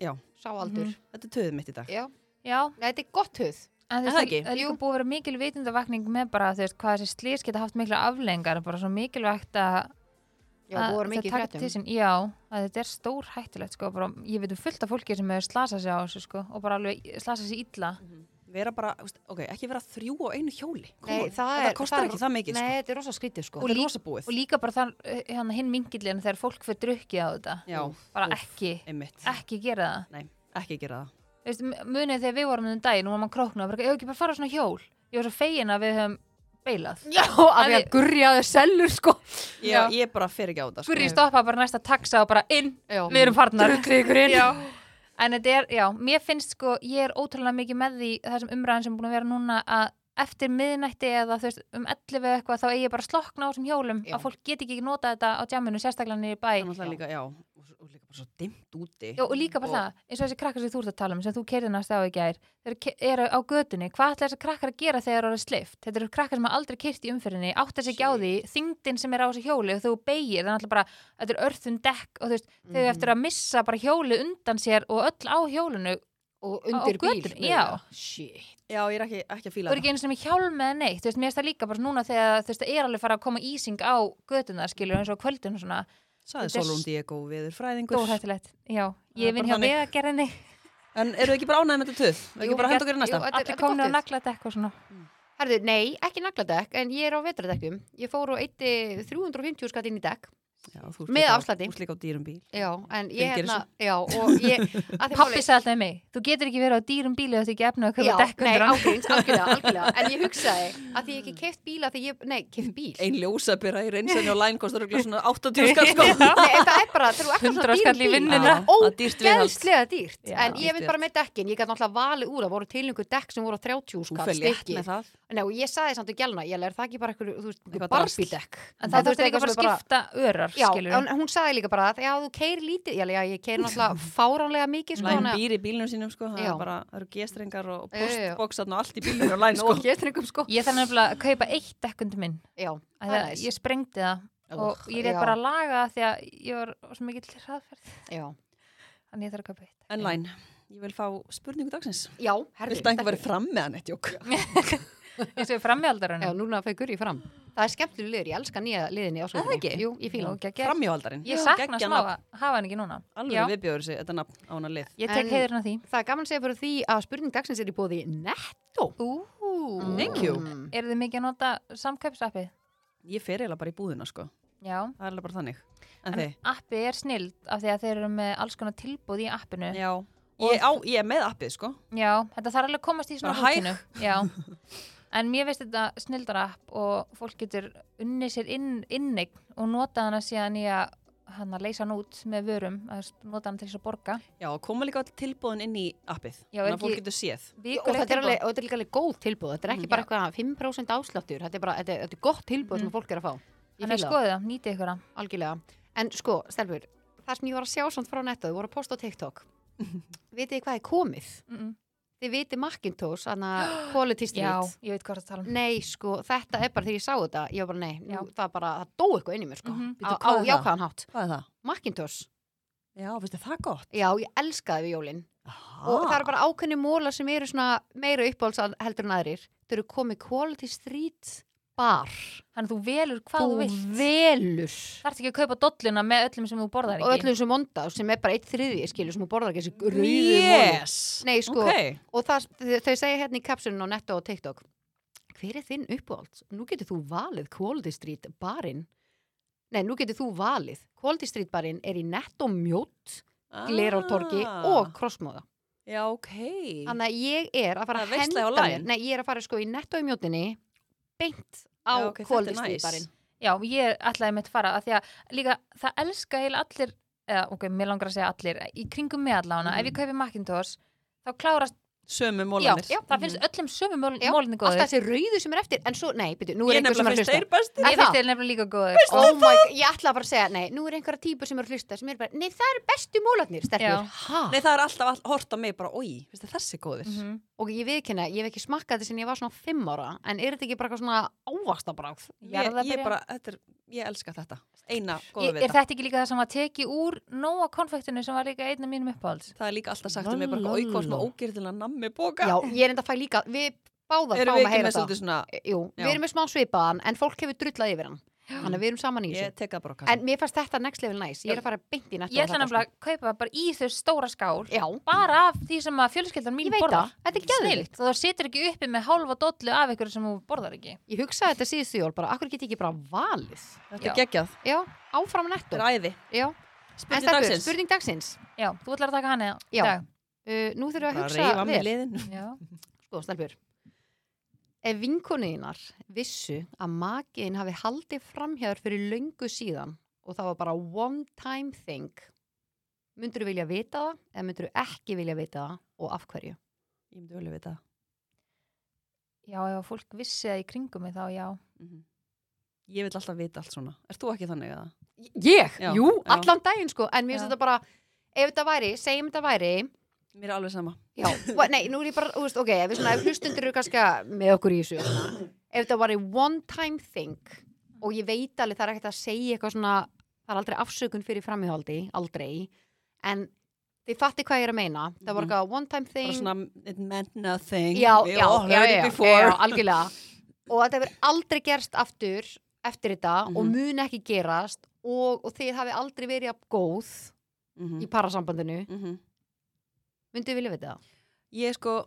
D: já,
E: Sáaldur.
F: Mhm.
D: þetta er töðum mitt í dag
E: Já.
F: Já,
E: Nei, þetta er gott höð.
F: en þú
D: Er það
F: veist,
D: ekki?
F: það er líka búið að vera mikil vitundavakning með bara, þú veist, hvað þessi slís geta haft mikla aflengar, bara svo mikilvægt að
E: Já, þú voru
F: að
E: mikið í
F: þau taki til
E: fréttum.
F: sín- Já, að þetta er stór hættilegt sko, bara, ég veit um fullt af fólki sem hefur slasað sér á þessu sko, og bara alveg slasað sér illa
D: vera bara, þú veist, ok, ekki vera þrjú á einu hjóli
E: Nei,
D: Come on.
E: það
D: þetta
E: er-
D: kostar ekki það mikið,
E: Nei,
D: sko.
E: þetta er rosa skrítið sko.
D: þetta er
F: lík-
D: rosa búið
F: og líka bara þann, hann, hinn mingillin þegar fólk fyrir drukkið á þetta
D: já,
F: bara
D: úff,
F: ekki,
D: sko. einmitt,
F: ekki gera það
D: nei, ekki gera það
F: Þú veist, mu- munið þegar við vorum um daginn og maður króknað, bara, ég hef ekki bara fara á svona hjól ég var svo fegin að við höfum beilað
E: Já, af
F: því að
E: gurjaðu sellur sko.
D: já, ég bara fer ekki á þetta, sko.
F: fyrir ég stoppa bara næsta taxa og bara inn
E: Já.
F: við erum farnar
E: inn.
F: Já. en þetta er, já, mér finnst sko ég er ótrúlega mikið með því þessum umræðin sem er búin að vera núna að eftir miðnætti eða þú veist, um 11 eða eitthvað þá eigi bara að slokna á þessum hjólum
D: Já.
F: að fólk geti ekki notað þetta á djaminu sérstaklega niður í bæ
D: Það er náttúrulega líka, já, og, og líka bara svo dimmt úti
F: Já, og líka bara það, eins og þessi krakkar sem þú ert að tala um sem þú kerði næst á í gær, þeir ke- eru á götunni hvað ætla þessi krakkar að gera þegar það eru sleift þetta eru krakkar sem hafa aldrei kyrt í umferðinni átt þessi ekki á því, þyngdin sem er á þessu hjóli og þú beigir, þannig að bara, þetta er örþun dekk og þú veist, þau
D: Mhm.
F: eru eftir að missa bara hjóli undan sér og öll á hjólinu
E: Og
F: Á
E: undir bíl.
F: götunni,
E: mögulega.
F: já.
E: Shit.
D: já, ég er ekki, ekki að
F: og
D: fíla
F: eru ekki eins og með hjálm eða neitt, þú veist, mér finnst það líka bara núna þegar þú veist, það er alveg fara að koma ísing á götuna skilur eins og á kvöldin og svona,
D: Saði
F: Þetta er
D: Solon Diego viður fræðingur
F: stórhættilegt já,
D: Það er
F: ég vinn
D: bara
F: hjá
D: þannig.
F: vegagerðinni
D: En eru þið ekki bara ánæðið með þetta tuð? Eru
E: Jú,
D: ekki bara að henda okkur í
E: jú,
D: næsta?
E: þetta er-
F: allir
E: þetta er
F: komni á
E: gott við.
F: nagladekk og svona
E: Herðu, nei, ekki nagladekk, en ég er á vetrardekkum. Ég fór og eitti 350 skall inn í dekk
D: Já, þú ert
E: Með
D: líka á-
E: afslætti.
D: Þú ert líka á dýrum bíl.
E: já, en
D: Fylgir
E: ég hérna já, og
D: *laughs*
E: ég, að því
F: Pappi
E: máli-
F: sagði alltaf við mig, þú getur ekki verið á dýrum bíli og þú ekki efna að
E: Já,
F: köpa dekk
E: nei,
F: undir hann.
E: ágríns, algjörlega, algjörlega En ég hugsaði að því ég ekki keift bíla því ég, Nei, keift bíl
D: Ein ljósabera í reynsenni og
E: *laughs*
D: læn kostar örugglega svona 80 skall sko.
E: Nei, en það er bara, þegar þú ert á
F: 100 skall
E: svona
F: í
E: dýrum bíl
F: vinnuna.
E: það
D: Það
E: er
D: er dýrt viðhald.
E: Ógeðslega dýrt
F: Já.
E: En ég
D: Dýrt
E: mynd bara með dekkin, ég gæti náttúrulega valið úr Það voru til einhver dekk sem voru á 30
D: Þú
E: skall
D: fyrir létt
E: stykki
D: með það.
E: Nei, og ég sagði samt í gælna, ég er það ekki bara einhver, þú veist, einhver
D: Eitthvað drasl.
E: barbídekk
F: En það
E: þú veist,
F: þarf líka
E: eitthvað
F: bara
E: sem er
F: að skipta örar,
E: Já,
F: skilur
E: en hún sagði líka bara að já, þú keir lítið, já, já, ég keir
D: *laughs*
E: náttúrulega fáránlega mikið, sko,
D: Læn
E: hana,
D: býr í bílnum sínum sko. Það
E: Já.
D: er bara, það eru gestrengar og
E: Já, já, já.
D: postboksarn og allt í bílnum og læn sko.
E: og getningum, sko,
F: Ég þarf nefnilega að kaupa eitt dekk undir minn.
E: já,
F: Af
E: það
F: því
E: er
F: að
E: næs,
F: Ég sprengdi það og ég reyð
E: Ah, já.
F: bara að laga það því að ég var svo mikill hraðferð. *laughs*
E: já,
F: Þannig ég þarf að kaupa eitt dekk.
D: En læn, ég vil fá spurningu dagsins.
E: já, herðu,
D: Viltu að einhver verið fram með hann eitt jók?
F: Eins og framjaldurinn.
E: Já, núna fæk Guri fram. Það er skemmtilegur liður, ég elska nýja liðinni í
D: Er það
E: ásköldinni.
D: ekki?
E: Jú, ég fíla. hann.
D: Framhjóaldarinn.
F: Ég sakna
D: Geggjað
F: smá að
D: nafn.
F: hafa hann ekki núna. Já,
D: Alveg viðbjóður sig þetta nafn á hana lið.
F: ég tek
E: En-
F: heiðurinn á því.
E: Það er gaman að segja fyrir því að spurning dagsins er í bóði netto.
F: Ú,
D: Thank you.
E: Mm.
F: eru þið mikið að nota samkaupsappið?
D: Ég fer eiginlega bara í búðina sko.
F: Já.
D: Það er eiginlega bara þannig. En
F: En
D: þið?
F: appið er snild af því að þeir eru með alls konar tilbúð í appinu. Já,
D: Já. Ég, á, ég er með appið sko.
F: þetta þarf alveg að komast í svona
D: Bara hæg.
F: rútinu. Já. En mér veist þetta snildara app og fólk getur unnið sér inn, inneign og nota hana síðan í að hann að leysa hann út með vörum, að s- nota hana til þess að borga.
D: Já, og koma líka all tilbúðin inn í appið.
F: Já,
D: Þannig
F: er
D: að fólk
F: ekki-
D: getur séð.
E: Og
F: Vikulegt
E: þetta, er
F: tilboð.
E: alveg, og þetta er líka alveg góð tilbúð, þetta er ekki bara eitthvað 5% afsláttur, þetta er bara, þetta er, þetta er gott tilbúð sem fólk er að fá. Ég
F: Þannig að
E: fíla það,
F: skoðu það, nýtið ykkur það.
E: sko, algjörlega. En sko, stelpur, það sem ég var að sjá samt frá netto, þau voru að posta á *laughs* TikTok. Vitið þið hvað er komið?
F: Mm -mm.
E: Þið vitið Macintosh, þannig *gasps* að Quality
F: Já,
E: Street.
F: ég veit hvað það tala um.
E: Nei, sko, þetta er bara þegar ég sá þetta, ég var bara, nei, nú,
F: Já.
E: það er bara, það dó eitthvað inn í mér, sko,
F: Mhm.
E: á,
D: Bíddu,
E: á
D: hvað er það?
E: jákvæðan hátt.
D: Hvað er það?
E: Macintosh,
D: Já, veistu það er gott? Ah,
E: já, ég elskaði við jólinn.
D: Aha.
E: og það eru bara ákveðni móla sem eru svona meira uppáhalds að- heldur en aðrir þau eru komið Quality Street bar
F: Þannig að þú velur hvað þú, vilt.
E: velur
F: Það ert ekki að kaupa dolluna með öllum sem þú borðar
E: og
F: ekki.
E: öllum sem monda sem er bara eitt þriði skilur sem hún borðar ekki þessi rauðu móli
D: Yes!
E: Nei, sko,
D: Ok.
E: og það, þau- þau segja hérna í kapsunum á netto og TikTok hver er þinn uppáhalds? Nú getur þú valið Quality Street barinn Nei, nú getur þú valið. Quality Street barinn er í netto mjótt,
D: Ah.
E: glerártorki og krossmóða.
D: Já, ok.
E: Þannig að ég er að fara
D: Það
E: að
D: er veisla
E: henda
D: hjá
E: mér
D: Lion.
E: Nei, ég er að fara sko í netto í mjótinni beint á
D: Já,
E: Já,
D: ok,
E: okay,
D: þetta er
E: Quality
D: nice.
E: Street barinn
F: Já, ég ætlaði mitt fara að því að líka það elska heil allir eða ok, mér langar að segja allir í kringum mig allána, ef ég kaupi Macintosh þá klárast,
D: Sömu
F: já,
D: mólanir.
F: já, það finnst öllum sömu mól,
E: Já,
F: mólni
E: Alltaf
F: góður
E: þessi rauðu sem er eftir En svo, nei, byrju, nú
D: Ég
E: er einhver sem
D: nefnilega
E: er
D: finnst
E: að hlusta
D: þeir bestir.
F: Mér
E: Er það?
F: finnst þeir nefnilega líka góður
E: Oh my god, ég ætla bara að segja Nei, nú er einhverja típur sem er að hlusta sem er bara, nei, það eru bestu mólarnir,
F: Já.
E: stelpur Ha?
D: Nei, það er alltaf all, hort á mig bara, oi, veistu þessi góðir.
E: Mhm.
F: mm -hmm.
E: Og ég viðkynna, ég hef ekki smakkað þetta sinni ég var svona fimm ára En er þetta ekki bara eitthvað svona ávastabráð?
D: Ég, ég
F: Jarðarberja.
D: bara, þetta er, ég elska þetta. Eina góða
F: Er
D: við þetta.
F: þetta ekki líka það sem var tekið úr Nóa konfektinu sem var líka einn af mínum uppáhalds
D: Það er líka alltaf sagt um mig bara, oi, hvað sem að ógjörðilega nammi boka.
E: Já, ég er enda að fæ líka Við báðar
D: Erum
E: fáum
D: við
E: að
D: ekki
E: heyra
D: með
E: það
D: svolítið svona,
E: Jú,
D: Já.
E: við erum með smá svipaðan En fólk hefur drullað yfir hann Þannig að við erum saman í þessu
D: ég tek það bara á
E: En
D: kassan.
E: mér fannst þetta next level nice. Ég er
F: Já.
E: að fara beint í netto.
F: Ég
E: og
F: ætla
E: þetta,
F: nefnilega að kaupa bara í þau stóra skál
E: sko. Já,
F: bara af því sem að fjölskeldan mín
E: ég veit
F: borðar
E: það. Þetta er
F: Snilt,
E: gæðvikt.
F: þú situr ekki uppi með hálfa dollu af ykkur sem þú borðar ekki
E: Ég hugsaði þetta síðustu jól bara, akkur get ég ekki bara valið?
D: Þetta
F: já.
D: er geggjað.
E: Já, áfram netto.
D: Þetta er æði.
E: Já. En
D: Spurning
E: stelpur,
D: dagsins.
E: spurning dagsins.
F: Já, þú ætlar að taka hana í
E: Já.
F: dag
E: Uh, nú þurfum við að
D: Bara
E: hugsa
D: reyfa með
E: vel.
D: liðin.
F: Já.
E: Sko, stelpur. Ef vinkonuðinar vissu að makiðin hafi haldið framhjáður fyrir löngu síðan og það var bara one time thing, myndur vilja vita það eða myndur ekki vilja vita það og af hverju?
D: Ég myndi vel við þetta.
F: Já, ef fólk vissi það í kringum mig þá já.
D: Mhm. Ég vil alltaf vita allt svona. Er þú ekki þannig að
E: Ég?
D: Já,
E: Jú,
D: já.
E: allan daginn sko, en mér
F: Já.
E: finnst þetta bara, ef þetta væri, segjum þetta væri,
D: Mér er alveg sama.
E: já, og- nei, nú er ég bara, þú veist, ok, ef við svona, ef hlustundur eru kannski að- með okkur í þessu, og svona, ef þetta væri one time thing, og ég veit alveg það er ekkert að segja eitthvað svona, það er aldrei afsökun fyrir framhjóðaldi, aldrei, en þið fatti hvað ég er að meina, það var
D: Mhm.
E: eitthvað one time thing,
D: Bara svona, it meant nothing.
E: já,
D: We
E: já,
D: all
E: já,
D: heard
E: já,
D: it
E: já,
D: before.
E: já, *laughs* algjörlega og þetta hefur aldrei gerst aftur eftir þetta og
D: Mhm.
E: mun ekki gerast og, og þið hafi aldrei verið jafn góð
D: Mhm,
E: í parasambandinu
D: mhm.
E: myndið vilja vita það?
D: Ég sko,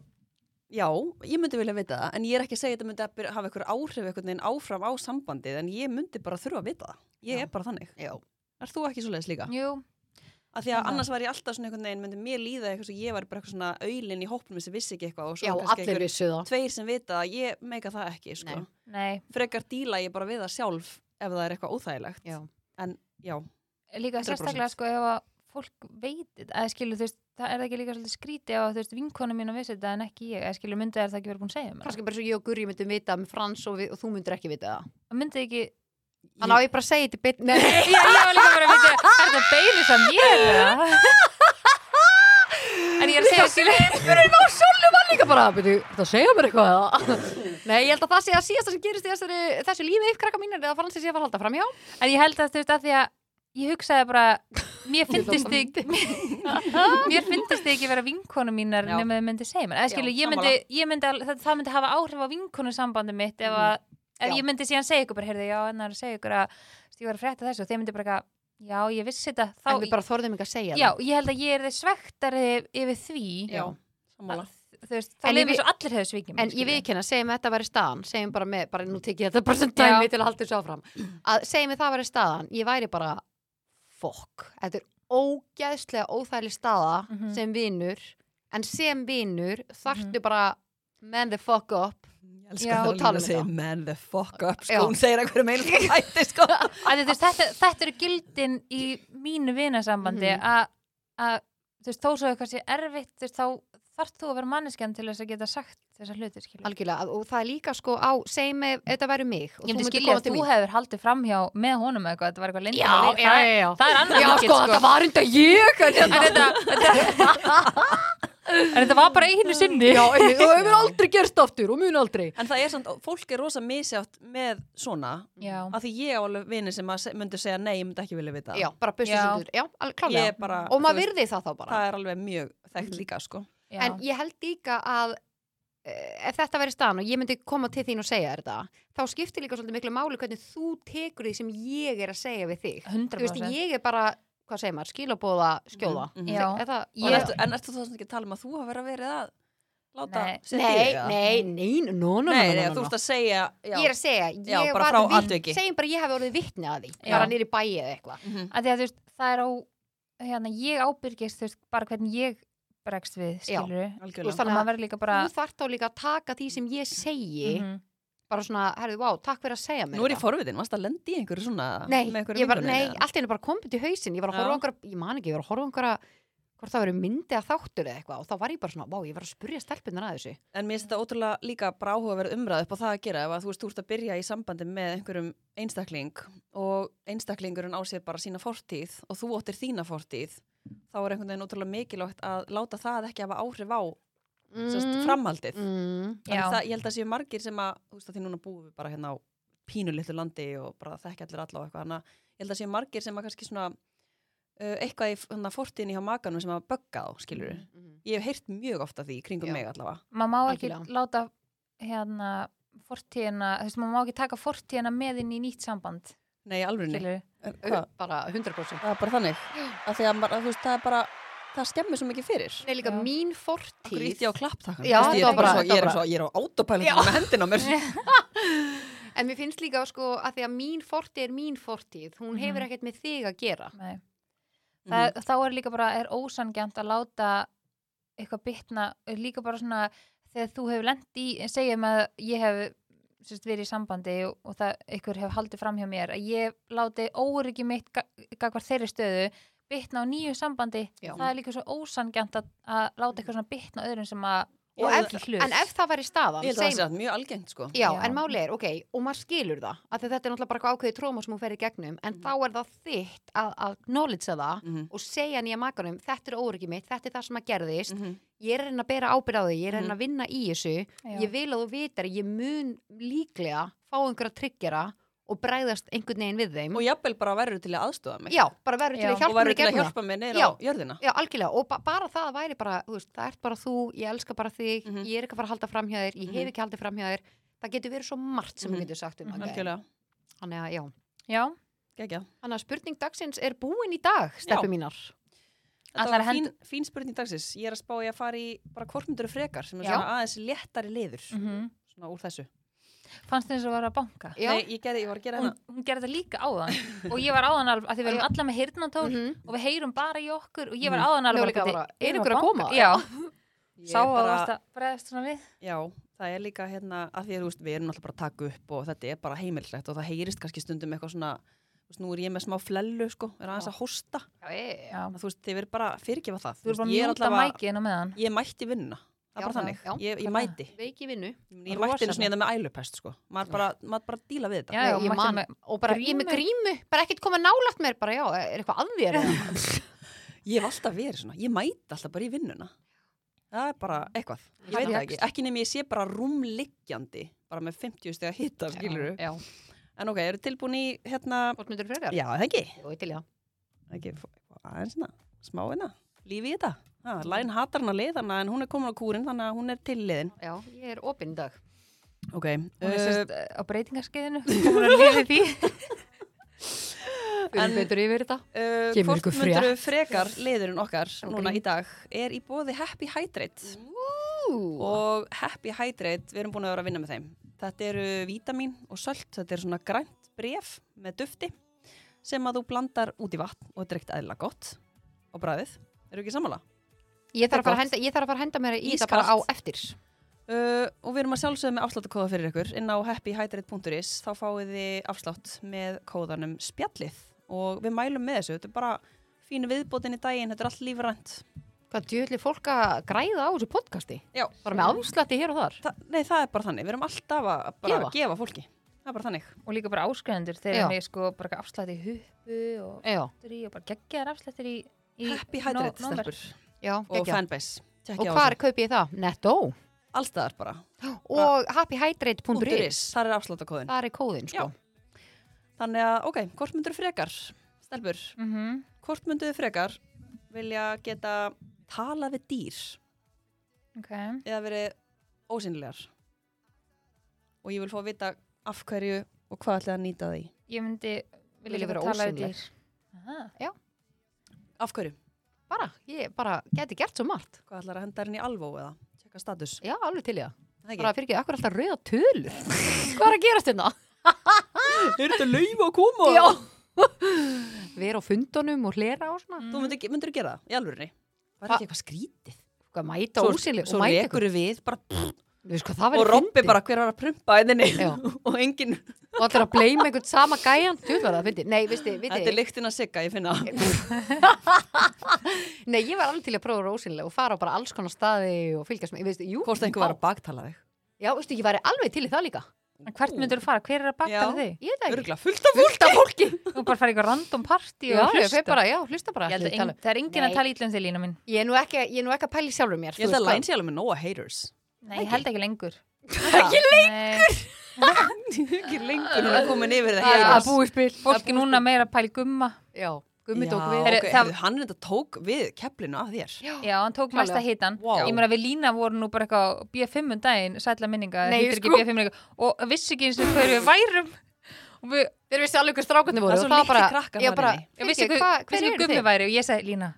D: já, ég myndi vilja vita það, en ég er ekki að segja að þetta myndi að byr- hafa einhver áhrif einhvern veginn áfram á sambandið, en ég myndi bara þurfa að vita það. Ég
E: Já.
D: er bara þannig.
E: Já.
D: Er þú ekki svoleiðis líka?
F: Jú,
D: Af því að
F: Já.
D: annars var ég alltaf svona einhvern veginn, myndi mér líða eitthvað svo ég var bara eitthvað svona auðlinn í hópnum sem vissi ekki eitthvað og svo
E: Já,
D: kannski
E: allir
D: einhver
E: vissu það.
D: tveir sem vita að ég meika það ekki, sko.
E: Nei.
F: nei,
D: Frekar díla ég bara við það sjálf ef það er eitthvað óþægilegt.
E: Já.
D: En já,
F: líka
D: 100%.
F: sérstaklega sko ef að fólk veit eða skilur þú veist, það er það ekki líka svolítið skrítið ef að, þú veist vinkonu mín að vissi þetta en ekki ég eða skilur myndið er það ekki verið búin að segja mér
E: Kanski bara svo ég og Guri myndum vita með Frans og, við, og þú myndir ekki vita það.
F: það myndið ekki já,
E: Þannig á ég bara að segja þetta í byrni. Nei, *laughs*
F: ég var líka bara að *laughs* myndið er þetta beilis að mér eða? en ég er að segja skilur
E: Gurinn og Sölvi var líka bara, byrju, það segja mér eitthvað eða? *laughs* Nei, ég held að það sé að síðasta sem gerist í þessari, þessu lífi yfir krakka mínir eða Fransi sé að fara að halda fram hjá.
F: en ég held að þú veist að því að ég hugsaði bara mér fyndist þig
E: *laughs*
F: mér fyndist þig ekki vera vinkonu mínar
E: Já.
F: nema þið myndi segja mér eða
E: Já,
F: skilur ég myndi, ég myndi al- það, það myndi hafa áhrif á vinkonu sambandi mitt ef, að, ef
E: Já.
F: ég myndi síðan segja ykkur bara heyrðu já en það er að segja ykkur að þú veist, ég var að frétta þessu og þeir myndi bara eitthvað, já ég vissi þetta þá,
E: En við bara þorðum ekki að segja
F: já ég held að ég er þið svektari yfir því
E: það. Já.
D: sammála.
F: þú veist
E: En
F: þá
E: ég
F: lefum
E: vi-
F: við svo allir hefur svikið mig,
E: En ég
F: skilurðu.
E: viðkynna, segjum að þetta væri staðan, segjum bara með, bara nú tekið ég þetta bara sem dæmi
F: Já.
E: til að halda þessu áfram, að segjum við það væri staðan, ég væri bara, fokk, þetta er ógæðslega óþæli staða
F: Mhm.
E: sem vinur, en sem vinur þarftu bara man the fuck up,
D: Ég elska
F: Já,
D: það
E: og
D: að
E: tala um
D: lína segja
E: þetta.
D: man the fuck up, sko.
E: Já.
D: Hún segir eitthvað meina *laughs* sko hætti, sko.
F: að þú veist, þetta, þetta eru gildin í mínu vinasambandi
E: Mhm.
F: að, að þú veist, þó svo eitthvað sé erfitt þú veist, þá þarft þú að vera manneskjan til þess að geta sagt þessar hluti, skilur
E: algjörlega, að- og það er líka sko á, segjum við, þetta væri mig, og
F: Ég myndi
E: myndir
F: skilja
E: koma
F: að
E: til
F: þú
E: mín.
F: hefur haldið framhjá með honum eða eitthvað, þetta var eitthvað lindur
E: Já, já,
F: það,
E: já, já.
F: það er annað
E: Já,
F: mikið,
E: sko, *laughs* þetta var enda ég, en þetta, *laughs*
F: en þetta var bara einu sinni
E: já, einmitt, og hefur aldrei gerst aftur, og mun aldrei.
D: En það er samt, fólk er rosa misjátt með svona,
F: já,
D: af því ég á alveg vini sem að se- myndu segja nei, ég myndi ekki vilja vita. það."
E: Já, bara bustu
F: Já.
E: sundur, já,
D: Ég
E: alveg
D: er
E: klálega.
D: bara,
E: Og
D: þú
E: maður
D: veist,
E: virði það þá bara. Mhm.
D: það er alveg mjög þekkt líka, sko.
F: já.
E: En ég held líka að eh, ef þetta væri staðan og ég myndi koma til þín og segja þér þetta, þá skiptir líka svolítið miklu máli hvernig þú tekur því sem ég er að segja við þig. Þú
F: 100%
E: veist, ég er bara, hvað segir maður, skilabóða skjóða.
D: Mhm.
F: Já.
E: Er það,
D: Og
E: ég,
D: ertu, en ertu þá svona ekki að tala um að þú hafa verið að verið að láta
F: Nei.
D: sig
E: nei,
D: dýra?
E: nei, nei, no, no, no, no,
D: nei,
E: no,
D: nei,
E: no,
D: þú
E: no.
D: ert að segja já,
E: Ég er að segja,
D: Já,
E: ég
D: bara
E: var
D: frá
E: vitni-
D: atviki.
E: segjum bara ég hef orðið vitni að því,
F: Já.
E: bara nýri bæi eða eitthvað.
D: Mhm.
F: að því að þú veist, það er á hérna, ég ábyrgist, þú veist, bara hvernig ég bregst við,
E: Já,
F: skilur já,
E: Þú veist,
D: algjörlega
E: þannig
F: þannig að
E: að-
F: maður verður líka bara
E: Þú þarf þá líka að taka því sem ég segi,
F: Mhm.
E: bara svona, herðu, vá, takk fyrir að segja mér
D: Nú er ég
E: þetta.
D: forvitin, varst að lendi í einhverju svona
E: Nei,
D: með einhverju
E: ég bara,
D: vinkonunni
E: nei,
D: eða?
E: allt einu bara komið til hausinn, ég var að horfa
D: Já.
E: á einhverja, ég man ekki, ég var að horfa á einhverja, hvort það verið myndi að þáttur eða eitthvað og þá var ég bara svona, vá, ég var að spurja stelpunar að þessu.
D: En mér finnst þetta ótrúlega líka bara áhugaverð umræð upp á það að gera ef að þú veist, þú ert að byrja í sambandi með einhverjum einstakling og einstaklingurinn á sér bara sína fortíð og þú óttir þína fortíð þá er einhvern veginn ótrúlega mikilvægt að láta það ekki hafa áhrif á mm. framhaldið Þannig
E: Mm.
F: Já.
D: það, ég held að séu margir sem að, þú veist að því núna búum við bara hérna á pínu litlu landi og bara þekkja allir alla og eitthvað, þannig að ég held að séu margir sem að kannski svona uh, eitthvað í hérna, fortíðinni hjá makanum sem að bögga þá, skilur
F: Mm.
E: Mhm.
D: Ég hef heyrt mjög ofta því í kringum
E: Já.
D: mig allavega.
F: maður má ekki
E: Algjörlega.
F: láta hérna fortíðina, þú veist, maður má ekki taka fortíðina með inn í nýtt samband
D: Nei, alveg neitt.
F: skilurðu.
D: Það
E: Bara 100%.
D: er bara þannig. Að því að maður, að þú veist, það er bara, það skemmir svo mikið fyrir.
E: Nei, líka
F: Já.
E: mín
D: Akkur
E: fortíð, *laughs*
D: ítti á klapptakkan.
E: Já,
D: Þú veist, ég
E: þetta
D: er
E: var
D: bara
E: bara-
D: svo- ég er
E: þetta var
D: svo- ég er á autopilot með hendina á mér.
E: en mér finnst líka sko að því að mín fortíð er mín fortíð, hún hefur
F: Mhm.
E: ekkert með þig að gera.
F: Nei. Það,
E: Mhm.
F: þá er líka bara, er ósangjönd að láta eitthvað bitna líka bara svona, þegar þú hefur lent í segjum að ég hef sérst, verið í sambandi og, og það ykkur hefur haldið fram hjá mér, að ég láti óryggi mitt ga- gagvart þeirri stöðu bitna á nýju sambandi
E: Já.
F: það er líka svo ósangjönd að, að láta eitthvað svona bitna á öðrum sem að
E: Og
F: eiga
E: ef,
F: ekki hlut.
E: en ef það væri staðan,
D: Ég held að það
E: segjum
D: sé að mjög algengt, sko.
E: Já,
F: Já.
E: en máli er, ok, og maður skilur það af því að þetta er náttúrulega bara eitthvað ákveðið tróma sem hún fer í gegnum en þá er það þitt að, að knowledgea það
D: Mhm.
E: og segja nýja makanum þetta er óryggið mitt, þetta er það sem að gerðist
D: Mhm.
E: ég er að reyna að bera ábyrð á því, ég er að reyna að vinna í þessu
F: Já.
E: ég vil að þú vitar, ég mun líklega fá einhverja tryggjara og bræðast einhvern veginn við þeim
D: Og jafnvel bara verður til að aðstofa mig.
E: já, bara verður til
F: Já.
E: að
D: og
E: hjálpa mér
D: verður
E: í
D: til að
E: gegnum það.
D: hjálpa mér neyra
E: Já.
D: á jörðina
E: Já, algjörlega, og ba bara það að væri bara, þú veist, það ert bara þú, ég elska bara þig,
D: Mhm.
E: ég er ekki að fara að halda fram hjá þér, ég hef
D: Mhm.
E: ekki haldið fram hjá þér, það getur verið svo margt sem
D: Mhm.
E: þú getur sagt um
F: Mhm.
E: það.
D: algjörlega,
E: Þannig að, já.
F: Já,
D: gegja
E: Þannig að spurning dagsins er búin í dag, steppi mínar.
D: þetta
F: Ætlar
D: var
F: að
D: fín, fín spurning dagsins ég er að spá ég að fara í bara kvortmyndur frekar sem er
E: Já.
D: svona aðeins léttari liður
F: mhm
D: svona úr þessu
F: fannst þið eins og var að banka
E: Já.
D: Nei, ég, gerði, ég var að gera
F: hún,
D: hérna
F: hún gerði það líka áðan
E: *laughs*
F: og ég var áðan alveg, að því við erum alla með hirnatól
E: Mhm.
F: og við heyrum bara í okkur og ég var áðan alveg
E: Ljóðlega
F: bíddu,
E: bara, er
F: erum við
E: einhver
F: banka?
E: að koma?
F: Já,
D: Ég
F: sá að þú
D: bara-
F: varst að bregðast svona við
D: Já, það er líka hérna að því að þú veist, við erum alltaf bara að taka upp og þetta er bara heimilislegt og það heyrist kannski stundum eitthvað svona, þú veist, nú er ég með smá flellu sko, er aðeins að hósta
E: Já,
F: Já.
D: Þannig að þú veist, þið verður bara að fyrirgefa það
F: Þú erum bara að
D: ég
F: mjúta
D: allavega-
F: mækina með hann
D: Ég mætti vinna, það
E: Já,
D: er bara þannig
E: já,
D: Ég, ég
F: þannig.
D: mætti,
E: veiki vinnu
D: ég
F: Rosa
D: mætti einu svona með ælupest sko, maður bara, maður bara díla við þetta
F: Já, já,
E: Nei, ég
F: mætti
E: man,
F: með
E: og bara ég með grímu, bara ekkert koma nálægt mér bara já, er eitthvað að þér eða?
D: Ég hef alltaf verið svona, ég mæti alltaf bara í vinnuna Það er bara eitthvað, ég veit það ekki Ekki nefnir ég sé bara rúmliggjandi bara með 50 steg að hitta, skilur
E: já,
D: En ok, eru tilbúin í hérna
E: hvort myndur fyrir
D: Já, það ekki
E: þér og til já,
D: Það ekki fá- fá aðeins hérna, smá hérna, lífi í þetta. Ha, Læn hatar hann að leiðana en hún er komin á kúrin þannig að hún er til leiðin.
E: já, ég er opinn í dag
D: Ok,
F: Hún er
D: uh,
F: sérst á breytingarskeiðinu
E: *laughs*
F: Hún er liðið því
E: fyrir
D: En-
E: betur yfir þetta
D: uh,
E: Kemur
D: hvort
E: ykkur
D: myndur frekar leiðurinn okkar
E: Án
D: núna
E: grín.
D: í dag er í bóði Happy Hydrate
E: og
D: og Happy Hydrate, við erum búin að vera að vinna með þeim. Þetta eru vítamin og sölt, þetta er svona grænt bref með dufti sem að þú blandar út í vatn og þetta er ekkert eðla gott á bræðið. Eru ekki sammála?
E: ég þarf að fara
D: gott.
E: að henda, ég þarf að fara að henda mér í þetta
D: Ískalt.
E: bara á eftir
D: Uh, og við erum að sjálfsögðu með afsláttakóða fyrir ykkur inn á happyhydrate.is þá fáið þið afslátt með kóðanum spjallið og við mælum með þessu þetta er bara fínu viðbótin í daginn þetta er allt lífrænt
E: hvað djöðli fólk að græða á þessu podcasti
D: Já.
E: bara með afslætti hér og þar
D: Þa, nei það er bara þannig, við erum alltaf að bara
E: Gefa.
D: gefa, fólki það er bara þannig
F: Og líka bara áskrifundur
E: Já.
F: þegar hann er sko bara afslætti í huppu og
E: já,
F: aftur í og bara geggjaðar afslættir í, í
D: Happy
F: nó-
D: Hydrate
F: nóvember.
D: stelpur
E: já,
D: og
E: geggja
D: fanbase
E: og hvar kaupi ég það? Netto
D: allstaðar bara
E: og happyhydrate.is
D: þar er afsláttakóðin
E: það er kóðin sko
D: þannig að ok, hvort myndur frekar stelpur,
E: Mm.
F: Mhm.
D: hvort mynduðu frekar vilja geta talað við dýr
F: Ok,
D: eða verið ósynlegar og ég vil fá að vita af hverju og hvað ætlaði að nýta því
F: ég myndi
E: Vilja
F: vilja
E: vera
F: vera tala við
E: ósýnileg.
F: dýr Aha.
D: af hverju,
E: bara, ég bara geti gert svo margt
D: hvað ætlaði að henda henni í alvó eða tjekka status
E: já, alveg til ég það
D: Það
E: bara
D: ekki?
E: fyrir ekki, akkur alltaf rauða tölu hvað er að gerast hérna?
D: er þetta lauf að koma
E: Já *laughs* Vera á fundunum og hlera og svona
D: þú myndir, myndir gera það, í alvörunni það er
E: Ha-
D: ekki eitthvað skrítið
E: Hvað mæta úsileg
D: svo
E: og mæta ykkur
D: rekur við bara,
E: Við sko það
D: og
E: verið
D: Robby bara hver var að prumpa henni
E: Já.
D: *laughs* og enginn,
E: Og allir að bleima einhvern sama gæjan Þú var það fyndi Nei, veistu,
D: þetta er
E: veistu
D: lyktin að sigga ég finna
E: Nei, ég var alveg til að prófa ósileg og fara á bara alls konar staði og fylgjast með Ég veistu, jú
D: hvort einhver var að baktala þig
E: Já, veistu, ég væri alveg til í það líka
F: En hvert myndur þú fara? Hver er að
D: Já.
F: bakta þig?
E: Ég veit það ekki
D: örgla fullt af
E: Fullt af fólki
F: Þú bara fara í eitthvað random party
E: Já,
F: og
E: ég
F: hlusta
E: fer bara, já, hlusta bara
F: Ég held
E: allir
F: að
E: tala.
F: ein, það er enginn
E: Nei.
F: að tala ítlum þig lína mín
E: Ég er nú ekki, ég er nú ekki að pæli sjálfur mér
D: ég held
E: þú
D: að
E: veist
D: læn sér alveg með nóa haters
F: Nei, ég held ekki
E: *laughs*
F: lengur
D: ekki
F: lengur?
D: ekki lengur hún er komin yfir það
E: hvað. Það er
D: haters
E: búið spil
F: Fólk er núna meira að pæli gumma
E: Já, gummi tók
D: Já,
E: við
F: Heyrðu,
D: ok,
F: það-
D: heyrðu, hann reynda tók við keplinu af þér
E: Já.
F: Já, hann tók
E: Klálega.
F: mesta hitan
D: Vá.
F: Ég meina við lína vorum nú bara eitthvað á B5 um daginn, sætla minninga
E: Nei,
F: heitir
E: sko.
F: ekki B5 minninga og vissi ekki eins og hver við værum og við,
E: Þeir vissi alveg hver strákarnir voru
D: Það er svo
E: og
D: litlir
E: bara-
D: krakkar
E: ég
D: þarna
E: bara,
D: inni.
F: ég vissi
E: Fyrirgefðu,
F: ekki
E: hvað-
F: vissi ekki
E: hver eru
F: gummi
E: þið?
F: væri og ég sagði Lína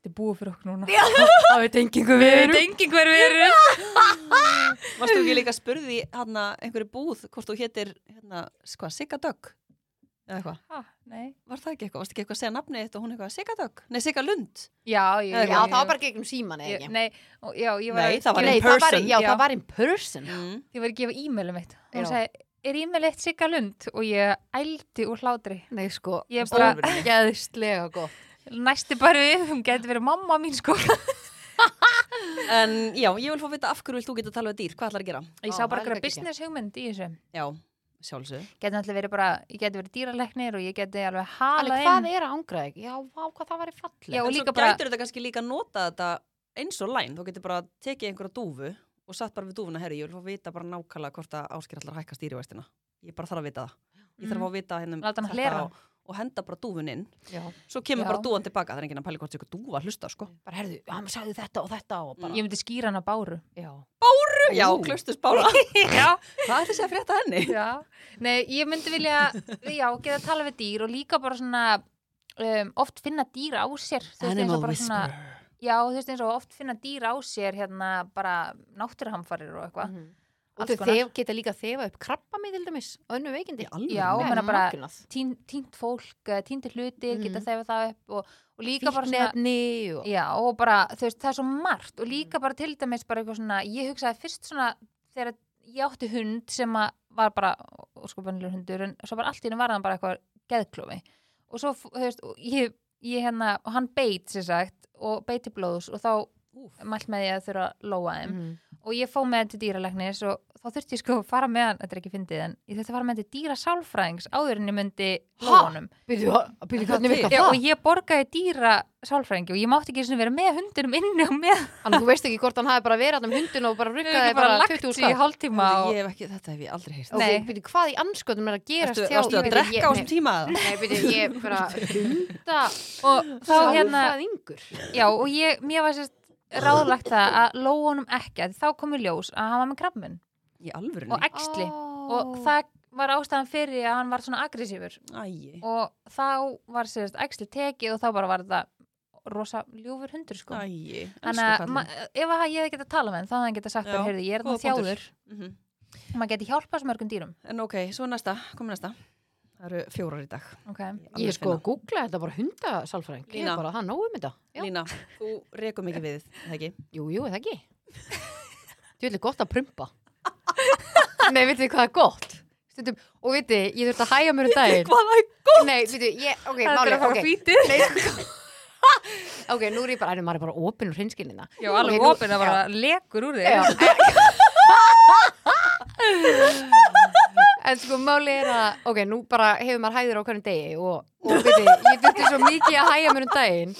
F: Þetta er búið fyrir okkur núna
E: Það veit enginn hver við
F: Við veit engin hver við erum
D: Varstu ekki líka að spurði hann einhverju búð hvort þú hétir hérna, hvað, Sigga Dögg? Eða eitthvað?
F: Ha, nei.
D: Var það ekki eitthvað? Varstu ekki eitthvað að segja nafnið þitt og hún eitthvað Sigga Dögg? Nei, Sigga Lund?
F: Já, ég,
E: Já, það var bara gegnum síman eða
F: ég,
E: ekki.
F: Nei, og, já, ég var
D: Nei, það var
E: Nei,
D: in
E: það var,
D: person.
E: já,
F: Já.
E: það var in person.
D: Mm.
F: ég var að gefa e-mail um eitt hún
E: Já.
F: sagði, er e-mail eitt Sigga Lund og ég ældi úr hlátri
E: Nei, sko,
F: Ég er
E: bara
D: Alvöru.
E: geðslega gott.
F: næsti bara við, hún getur verið mamma mín sko
D: En já, ég vil fá að vita af hverju vilt þú geta að tala við dýr, hvað ætlar að gera?
F: ég
E: Já,
F: sá bara
E: það er
F: eitthvað
E: líka
F: business hugmynd í þessu
D: Já, sjálfsög.
F: getur náttúrulega verið bara, ég getur verið dýraleknir og ég getur alveg
E: Alveg,
F: halað
E: hvað
F: inn
E: er að ángra þig? Já, vá, hvað það var í falleg.
F: Já,
D: En
F: og
D: svo
F: líka bara-
D: gætur þetta kannski líka nota þetta eins og læn, þú getur bara tekið einhverja dúfu og satt bara við dúfuna, herri, ég vil fá að vita bara nákvæmlega hvort að áskir allar hækka stýrivæstina. Ég bara þarf að vita það. Ég þarf að fá að vita hérna um
F: Mm. Láta hana
D: þetta
F: hlera.
D: og, og henda bara dúfun inn
E: Já,
D: Svo kemur
F: Já.
D: bara dúan tilbaka, það er enginn að pæli hvort ykkur dúfa að hlusta, sko. Mm.
E: bara herðu, hann sagði þetta og þetta og bara.
F: ég myndi skýra hana báru
E: Já.
D: Já, klaustus bára.
F: *laughs* já,
D: Hvað er þessi að frétta henni?
F: já, nei, ég myndi *laughs* vilja já, geta að tala við dýr og líka bara svona um, oft finna dýr á sér þú veist, eins og bara svona, já, þú veist eins og oft finna dýr á sér hérna bara náttúruhamfarir og eitthvað
E: Mhm. og
F: Alls
E: þau
F: konar.
E: þef, geta líka að þefa upp krabba með til dæmis og önnu veikindi
F: Já,
E: Nei,
F: meina bara-
E: magnað.
F: tínt, tínt fólk, eh, tíntir hlutir,
E: Mhm.
F: geta þefa það upp og, og líka bara svona
E: fíknefni og
F: Já, og bara, þú veist, það er svo margt og líka bara til dæmis bara eitthvað svona, ég hugsaði fyrst svona þegar ég átti hund sem að var bara óskupanilegur hundur en svo bara allt í hennu var hann bara eitthvað geðklofi og svo, þú veist, og ég, ég hérna, og hann beit sér sagt og beiti blóðs og þá mælt með ég að þurfa að lóa þeim
E: Mhm.
F: og ég fó með hann til dýralæknis og þá þurfti ég sko að fara með hann, þetta er ekki fyndið en ég þurfti að fara með hann til dýra sálfræðings áður en ég myndi
E: Ha?
F: lóa honum
E: Byrju, byrju, hvernig
D: til?
E: virkar
F: Já, og
E: það?
F: ég borgaði dýra sálfræðingi og ég mátti ekki einu sinni vera með hundinum inni og með
E: Þannig þú veist ekki hvort hann hafi bara verið hann um hundin og bara rukkaði
F: Ég
E: bara
F: lagt
E: 20
F: sig í
E: skall.
F: hálftíma
D: Ég
F: og
D: hef ekki, þetta hef ég aldrei heyrt.
E: Og
F: Nei.
E: byrju, hvað í anskotum er að gerast
D: Ertu,
E: hjá-
D: varstu að
E: Bíddu, ég-
D: drekka á
E: nei,
D: þessum tíma? eða?
E: Nei, byrju, ég bara hunda
F: og þá hérna,
E: yngur.
F: já og ég, mér var sérst ráðlagt það að lóa honum ekki að þá komu ljós að hann var með krabminn
D: Í alvörunni?
F: og eksli og það var ástæðan fyrir að hann var svona aggressífur
D: Æi.
F: og þá var sérst eksli tekið og þá bara var þetta rosa ljúfur hundur sko
D: Æi.
F: Þannig að ma- ef að ég hefði getað talað með hann, þá hefði hann getað sagt
D: Já,
F: þér, heyrðu, ég er
D: góða
F: það þjáður.
D: Mm -hmm.
F: Maður geti hjálpað svo mörgum dýrum.
D: En ok, svo næsta, komum næsta. Það eru fjórar í dag.
F: Okay.
E: Ég
D: Alveg
E: sko
F: Hérna.
D: finna.
E: að googla þetta bara hundasálfræðing. Ég
D: Lína.
E: er bara það nógu um þetta. Já.
D: Lína, þú rekum ekki við, er það ekki?
E: *laughs* Jú, jú, er það ekki. Þú vilja gott að
F: *laughs*
E: prumpa. Nei, veitu þið hvað er gott? Stundum, og veitu, ég þurfti að hæja mér um daginn.
D: Hvað er
E: Nei, veitu, ég, ok,
F: Það er
E: máli,
F: að fara
E: ok.
F: fítið.
E: Nei, sko. *laughs* ok, nú er ég bara, en maður er bara opinn úr hreinskilinna.
F: Já, alveg
E: nú-
F: opinn að bara lekur úr
E: Já,
F: þig.
E: en sko máli er að ok, nú bara hefur maður hæður á hverjum degi og, og veitir, ég þurfti svo mikið að hæja mér um daginn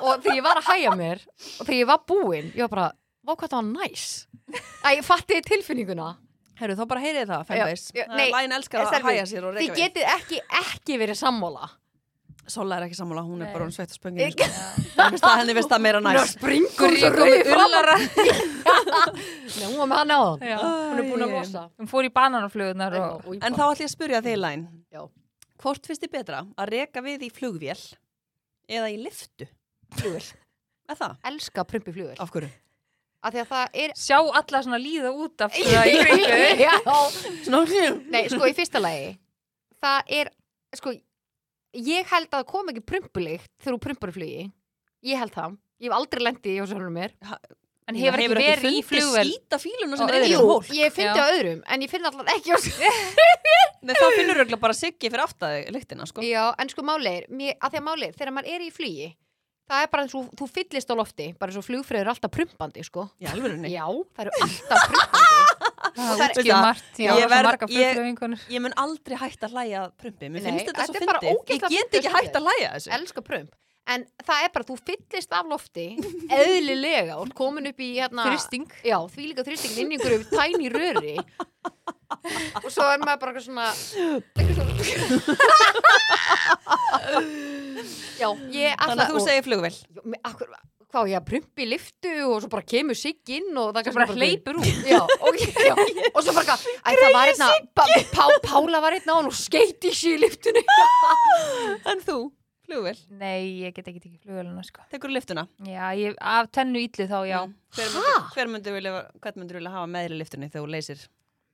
E: og þegar ég var að hæja mér og þegar ég var búinn, ég var bara vá hvað það var næs Æ, ég fatti tilfinninguna
D: Herru, þá bara heyrið það, fanbase.
E: Já, já,
D: Það er
E: nei,
D: Læn elskar að
E: stelpur,
D: hæja sér og
E: þið
D: reka við.
E: getið ekki, ekki verið sammála
D: Sola er ekki sammála, hún er
F: Nei. sko.
D: bara hún sveitt sko. og spöngin. Henni veist það meira
E: hún er að
D: næst.
E: springa úr
F: Gríkur
E: rúmi
F: í ullara.
E: *laughs* Nei, hún var með hann á hann
F: Já.
E: hún er búin að losa
F: Hún fór í bananaflugurnar og...
E: og ég
D: En þá
E: bara-
D: ætlum ég að spurja þig, Læn.
E: Já.
D: Hvort finnst þið betra að reka við í flugvél eða í liftu?
E: flugvél.
D: Er það?
E: elska prumpi flugur
D: Af hverju?
E: af því að það er
F: Sjá alla svona líða út af það í kringu.
E: *laughs* Já.
D: Snorri.
E: Nei, sko, í fyrsta lagi Það er, sko Ég held að það kom ekki prumpulikt Þegar þú prumpar í flugi Ég held það, ég hef aldrei lendið í hjósvöldum mér
F: En hefur ekki verið í flugvel.
D: skýta fíluna
F: Og
D: sem er í
E: Jú,
D: hól
E: ég finn
F: Já.
E: það á öðrum En ég finn alltaf ekki á sér
D: Nei, það finnur auðvitað bara siggi fyrir aftaði lyktina sko.
E: Já, en sko máleir, mér, að því að máleir Þegar maður er í flugi Það er bara eins og þú fyllist á lofti Bara eins og flugfröður er alltaf prumpandi, sko
D: í alvörunni
E: Já, það eru alltaf
D: *laughs*
E: prumpandi
F: Það er
E: Það er-
F: ekki margt. Já,
D: Ég
F: það
D: verð-
F: er marga
D: ég-
F: flugvelvingunur.
D: ég mun aldrei hægt að hlæja að prumpi mér
E: Nei,
D: finnst þetta svo
E: þetta er bara
D: fyndið ég
E: ógeðslega
D: get ekki
E: fyndið.
D: hægt að hlæja þessu
E: Elska prump En það er bara, þú fyllist af lofti Eðlilega, og ert komin upp í hérna,
F: Þrýsting.
E: Já, því líka þrýstingin inn í einhverju tæni röri og svo er maður bara eitthvað
D: *laughs*
E: svona Já, ég
D: þannig að þú segir flugvél
E: og, me- akkur, Hvað, á ég að prumpi í lyftu og svo bara kemur sig inn og það
F: Svo bara hleypur
E: út Já, og, *laughs* já, og svo bara eitthvað, Æ, það var einna Pá, Pá- Pála var einna og hún skeiti sig í *laughs* lyftunni
D: en þú, flugvél,
F: Nei, ég get ekki tekið flugveluna, sko. Mm.
D: tekur lyftuna
F: Já, ég, af tennu íllu þá, já.
D: hver myndir, hver myndir vilja, hvern myndir vilja hafa meðri lyftunni þegar þú leysir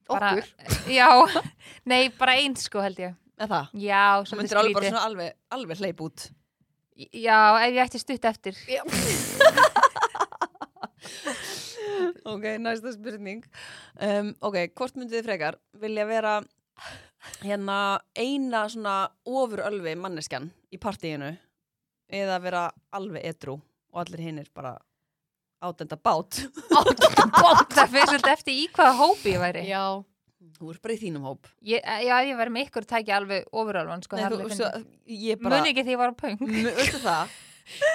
F: Bara,
E: Okkur
F: *laughs* já, nei, bara eins, sko, held ég.
D: eða það
F: Já,
D: Þú
F: svolítið
D: myndir alveg bara
F: skrítið.
D: svona alveg, alveg hleyp út
F: Já, ef ég ætti stutt eftir. *laughs*
E: Já.
D: Ok, næsta spurning um, Ok, hvort myndið þið frekar vilja vera hérna eina svona ofurölvi manneskjan í partíinu eða vera alveg edrú og allir hinnir bara átenda bát
F: *laughs* Það fyrir svolítið eftir í hvaða hópi ég væri.
E: Já,
D: Þú ert bara í þínum hóp
F: Ég, já, ef ég væri með ykkur tæki alveg ofuralvan, sko,
D: Nei,
F: það er
D: þú,
F: alveg
D: svo,
F: fyndið.
D: Ég bara
F: Muni ekki því ég var á pöng.
D: M- Veistu það?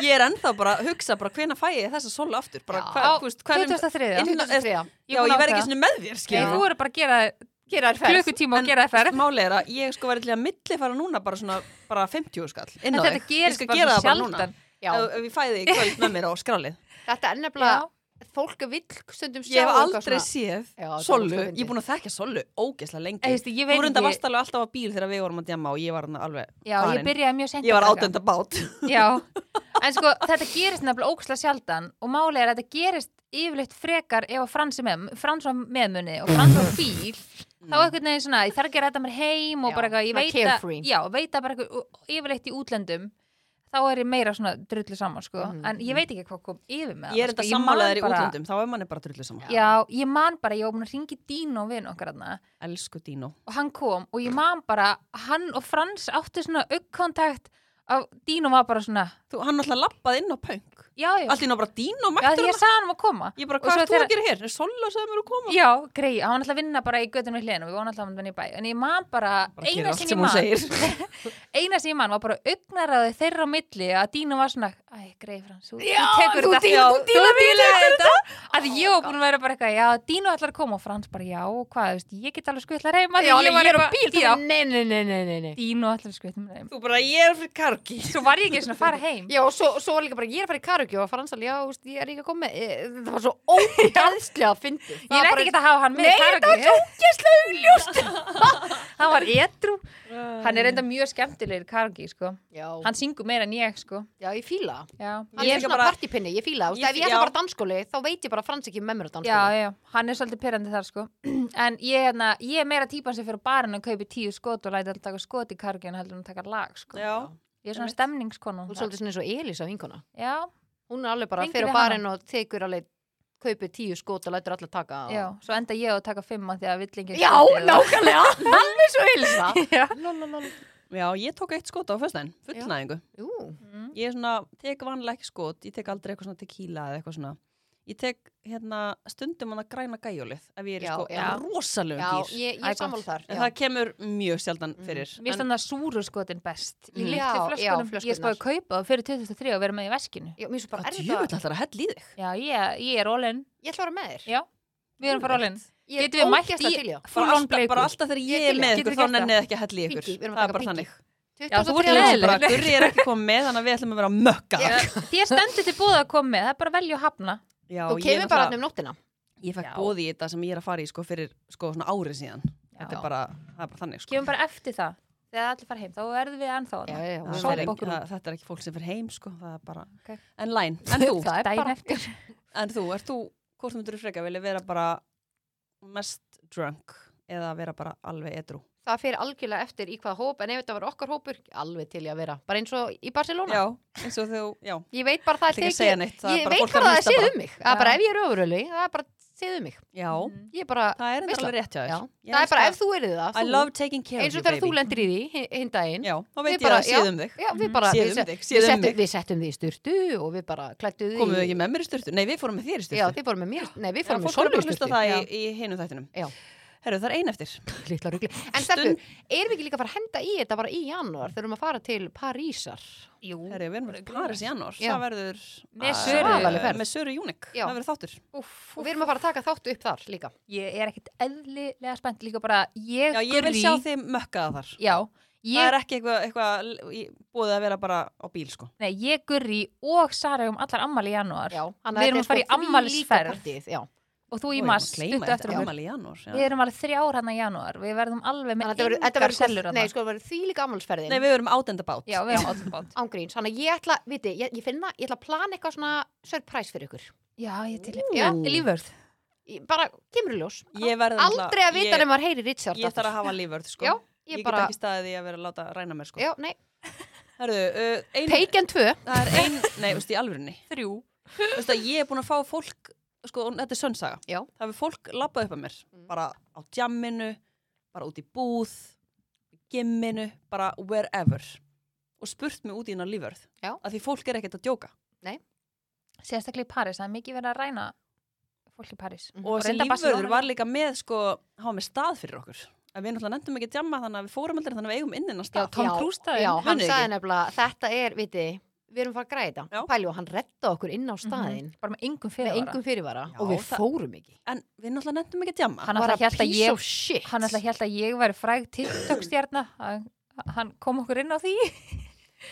D: Ég er ennþá bara að hugsa bara hvena fæ ég þessa sólu aftur bara,
E: Já.
D: hva,
F: Á
D: þú veist, hverjum,
F: 2003.
D: inn-
E: þriða
D: Já, ég verð ekki svona með þér
F: Nei,
D: skilur
F: þú eru bara að gera
E: Gera þær ferð.
F: klukkutíma og gera það ferð.
D: Máli er að ég sko verið til að milli fara núna bara svona bara 50 skall inn á
F: En þetta
D: þig. Ég
F: gerist
D: skal
F: bara
D: gera
F: svo
D: það núna.
F: sjaldan.
E: Já,
D: Ef, ef ég fæði í kvöld með mér á
F: *laughs*
D: skrálið
E: þetta er
F: Já.
E: nefnilega fólk vill stundum sjá
D: Ég hef
E: eitthvað
D: aldrei
E: svona-
D: séð
E: Já, það er
D: Sollu,
E: ógeðslega fyndið.
D: ég er búin að þekka Sollu ógeðslega lengi
F: Ég, veist, ég
D: Þú
F: veit
D: voru enda
F: ekki,
D: vastalega alltaf á bíl þegar við vorum að djama og ég var hann alveg
F: já, ég
D: farin.
F: byrjaði mjög sent
D: Ég var átönda bát
F: Já, en sko þetta gerist nefnilega óksla sjaldan og málega er að þetta gerist yfirleitt frekar ef að Frans er með, Frans var meðmunni og Frans var bíl
D: Mm.
F: þá er einhvern veginn svona, ég þarf ekki að ræta mér heim og
E: Já,
F: bara eitthvað, ég
E: svona
F: veit að,
E: carefree.
F: já, veit að bara eitthvað, og- og yfirleitt í útlöndum þá er ég meira svona drullu saman sko,
E: Mhm.
F: en ég veit ekki hvað kom yfir með
D: *laughs* Ég er
F: sko.
D: þetta
F: man
D: sammálaðir í
F: bara-
D: útlöndum, þá er manni bara drullu saman.
F: Já, ég man bara, ég var búin að ringi Dino vinn okkar þarna
D: Elsku Dino.
F: og hann kom og ég man bara, hann og Frans áttu svona augkontakt og Dino var bara svona,
D: Þú, hann alltaf lappað inn á punk.
F: já, já,
D: Allt inn á bara Dino
F: já
D: mættur
F: því ég
D: hann.
F: sagði hann að koma
D: Ég bara,
F: Og
D: hvað
F: svo
D: er þú
F: þegar-
D: að gera hér? Sola sem eru að koma.
F: Já, greið, hann var alltaf að vinna bara í göttunum við hliðinu og við vonum alltaf að hann vinna í bæ en ég man bara,
D: Bara gerir
F: eina
D: allt
F: sinni
D: sem
F: man
D: hún segir.
F: *laughs* eina sinni man var bara augnaraði þeirra á milli að Dínu var svona, æ, greið frans þú,
E: Já,
F: þú tekur
E: þú
F: þetta
E: díl-
F: Já,
E: þú dílar við
F: dílar við þetta að ég var búin að vera bara eitthvað, já, Dínu ætlar að koma og frans bara, já, hvað, þú veist, ég get alveg skvittlar heim að
E: Já, alveg, ég er á
F: bíl
E: Já, nei, nei, nei, nei, nei, nei.
F: Dínu ætlar að skvittlar heim
D: Þú bara, ég er fyrir *laughs* kargi.
F: svo var ég ekki svona að fara heim
E: Já, og svo, svo var líka bara, ég er að fara í karaoke og fransal, já, þú veist, ég er ekki að koma með, e, það *laughs* var svo ógæðslega að fyndi.
F: Ég er ekki að hafa hann með
E: Nei,
F: karaoke. Nei, þetta var ógæslega augljóst. hann var edru. Hann er enda mjög skemmtilegur karaoke, sko.
E: Já,
F: Hann syngur meira en ég, sko.
E: já, ég fíla. það.
F: Já,
E: Hann
D: Ég
E: er
D: líka
E: svona
D: bara-
E: partypinni, ég fíla. það. Þú
D: Ég
E: veist, ef ég
D: fí-
E: ætla
D: já.
E: bara að danskóli, þá veit ég bara að frans ekki er með mér að
F: já,
E: danskóli.
F: já, hann er svolítið pyrrandi þar sko *clears throat* En ég, hérna, ég er meira típan sem fyrir barinn og kaupi tíu skot og læti alltaf taka skot í kargi en heldur hann taka lag sko
D: Já.
F: Ég er svona stemningskona
E: Þú er svolítið svona eins og Elisa vinkona.
F: Já,
E: Hún er alveg bara
F: Hringdu
E: fyrir
F: í
E: á barinn og tekur alveg, kaupir tíu skot og lætur alla taka. og-
F: já, svo enda ég á að taka fimm að því að villingin
E: já, nákvæmlega. *laughs* Alveg svo Elisa.
F: *laughs* Já.
E: Lalalala.
D: Já, ég tók eitt skot á föstudaginn, fullnæðingu.
E: Jú,
D: Ég er svona, tek vanlega ekki skot, ég tek aldrei eitthvað svona tequila eða eitthvað svona. Ég tek hérna stundum hann að græna gæjólið ef ég er í
E: Já,
D: sko
E: já.
D: rosalegu
E: já,
D: gýr.
E: ég, ég
F: Æ,
E: er sammála
F: gott.
E: þar.
D: En
E: já.
D: það kemur mjög sjaldan fyrir.
F: Mér
D: En-
F: stann það súru skotin best Í
E: Mm.
F: litlu
E: Já, já,
F: flöskunum Ég
E: flöskurnar.
F: spáði að kaupa það fyrir 2003 og vera með í veskinu
E: Já, mér er svo bara
D: Það
E: erfitt
D: djöfull
E: að,
D: ætlar að hella í þig.
F: Já, ég, ég er ólinn
E: ég ætla að vera með þér.
F: Já, við erum bara ólinn
E: Ég er
F: Getum við mætt
E: ógeðslega
F: í
E: til í það.
F: full
D: Bara
F: on
D: alltaf,
F: bleiku?
D: bara alltaf þegar ég
E: til
D: er
E: í það.
D: með ykkur
E: Getur
D: þá
E: gert það?
D: nennið þið ekki að hella í ykkur.
E: Pinky, við
D: það
E: erum að
D: er
E: taka
D: bara
E: Pinky.
D: þannig.
F: Já, þú ert
D: Ég
E: 23
D: er
F: leiðileg.
E: ára.
D: bara, Gurri er ekki komið með, þannig að við ætlum að vera að mökka.
F: *laughs* Þér stendur til búið að koma með, það er bara að velja og hafna
D: Já,
E: Þú
D: ég
E: kemur bara
D: náttúrulega-
E: hann um nóttina.
D: Ég fekk
F: Já.
D: bóð í þetta sem ég er að fara í sko fyrir sko svona árið síðan. Þetta
F: Já.
D: er bara, það er bara þannig sko.
F: kemum bara eftir það þegar allir fara heim, þá verðum við ennþá
E: Já,
F: þarna.
E: já, já.
D: Það
E: Sópa
D: er ekki,
E: okkur út.
D: það, þetta er ekki fólk sem fyrir heim sko, það er bara,
F: Ok.
D: en
E: *laughs*
D: læn, en þú,
E: Það er
F: daginn
E: bara-
F: eftir
D: en þú, er þú, hvort myndur þú freka, vilja vera bara mest drunk eða vera bara alveg edru?
E: Það fyrir algjörlega eftir í hvaða hóp, en ef þetta var okkar hópur, alveg til ég að vera. Bara eins og í Barcelona.
D: Já, eins og þú, já,
E: Ég veit bara það
D: ætla ekki að segja neitt, það er
E: ég
D: bara
E: veit
D: fólk að
E: hvað það er
D: hlusta
E: séð
D: bara.
E: um mig. Það er bara
F: Já.
E: ef ég er öfurölu, það er bara séð um mig.
D: já,
E: Ég er bara,
D: Mhm. það er enda
E: Veistla.
D: alveg rétt hjá þér.
E: já.
D: Ég
E: Það er bara
D: elska-
E: ef þú erið það,
D: I
E: þú,
D: love taking care
E: eins
D: of
E: og
D: you,
E: þegar þú
D: baby.
E: lendir í því hi- hinn daginn.
D: Já, þá veit
E: Við
D: ég
E: bara-
D: að séð um þig.
E: Já, við bara,
D: Séð
E: við,
D: um
E: se-
D: þig,
E: við,
D: séð um
E: settum,
D: þig.
E: við settum því í sturtu og við bara klættum því.
D: Komum við ekki með mér í styrtu? Nei, við fórum með þér í styrtu.
E: Já, þið fórum með mér, nei við fórum
D: fólk
E: með
D: er bara
E: Sólu í
D: að hlusta
E: sturtu.
D: það í, í hinu þættinum.
E: Já. *laughs*
D: Herru, það er ein eftir.
E: litla rugli. En
D: Stund-
E: Stefur, erum við ekki líka að fara að henda í þetta bara í janúar þegar við erum að fara til Parísar?
F: Jú,
D: Herri, við erum bara Paris í janúar,
E: Já.
D: það verður
F: Með
D: að-
F: Söru.
E: Svaðaleg ferð.
D: með Söru Júnik,
E: Já.
D: það verður þáttur
F: úff,
E: Og við erum að fara að taka þáttu upp þar líka.
F: ég er ekkit eðlilega spennt líka bara, ég,
D: Já, ég vil
F: Gurrí-
D: sjá þeim mökkaða þar
F: Já,
D: Það er
F: ég,
D: ekki eitthvað, eitthvað í- búið að vera bara á bíl sko
F: nei, ég gurri og Sara um allar ammali í janúar
E: Já, þannig
F: Við erum
E: þetta
F: að fara
E: er
F: í
E: sko
F: ammælisferð.
E: þvílíka partíið, Já,
F: og þú
D: Ó,
F: í
D: ég má
F: mass
D: gleyma
F: stuttu
D: þetta
F: eftir
D: er
F: um
D: afmæli í janúar já.
F: Við erum alveg þrjár hann í janúar, við verðum alveg
E: þannig að
F: með
E: þetta verður- þetta
F: engar
E: verður
F: sellur
E: sko-
F: hann
E: nei, sko, þetta verður þvílíka ammálsferðin
D: Nei, við erum átenda bát
F: Já, við erum allir bátt
E: ángríns, þannig að ég ætla, viti, ég, ég finna, ég ætla að plana eitthvað svona surprise fyrir ykkur.
F: Já, ég til
E: Já.
F: Lífvörð
E: Ég, bara, kemur í ljós.
D: Ég verð
E: Aldrei að vita
D: ég,
E: nema maður heyri Richard.
D: Ég þarf
E: aftur.
D: að hafa lífvörð sko
E: Já,
D: Ég,
E: ég,
D: get
E: bara,
D: ekki staðið í að vera að láta ræna mér sko
E: já, nei,
D: Herðu, uh, ein,
E: Pagan 2,
D: það er ein Nei, þú veist, í alvörinni
F: Þrjú
D: Þú veist að ég er búin að fá fólk sko, og þetta er sönnsaga
E: Já. Mm.
D: það hefur fólk labbað upp að mér bara á djamminu, bara út í búð gimminu, bara wherever og spurt mig út í hennar líförð
E: Já. Mm.
D: að því fólk er ekkert að djóka
F: sérstaklega í París, það er mikið verið að ræna fólk í París
E: Mhm.
D: og þessi
F: reyndar
D: líförður
F: Barcelona
D: var
F: líka.
D: líka með sko, hafa með stað fyrir okkur að við náttúrulega nefndum ekki að djamma þannig að við fórum aldrei þannig að við eigum inn innan
E: Já,
D: stað
E: Tom Cruise já, hann
D: Munið
E: sagði
D: ekki.
E: nefnilega, þetta er, viti, við erum að fara að
D: Já.
E: græða
D: Mhm.
E: þetta. Pæli og hann retta okkur inn á staðin
F: Mhm. bara með engum
E: með
F: fyrirvara
E: engum fyrirvara
D: Já,
E: og við
D: það-
E: fórum ekki.
D: en við náttúrulega nefndum ekki að djamma
F: Hann
E: Bara
F: alltaf hélt að
E: piece
F: ég-
E: of shit.
F: hann alltaf held að ég væri fræg TikTok-stjarna að- hann kom okkur inn á því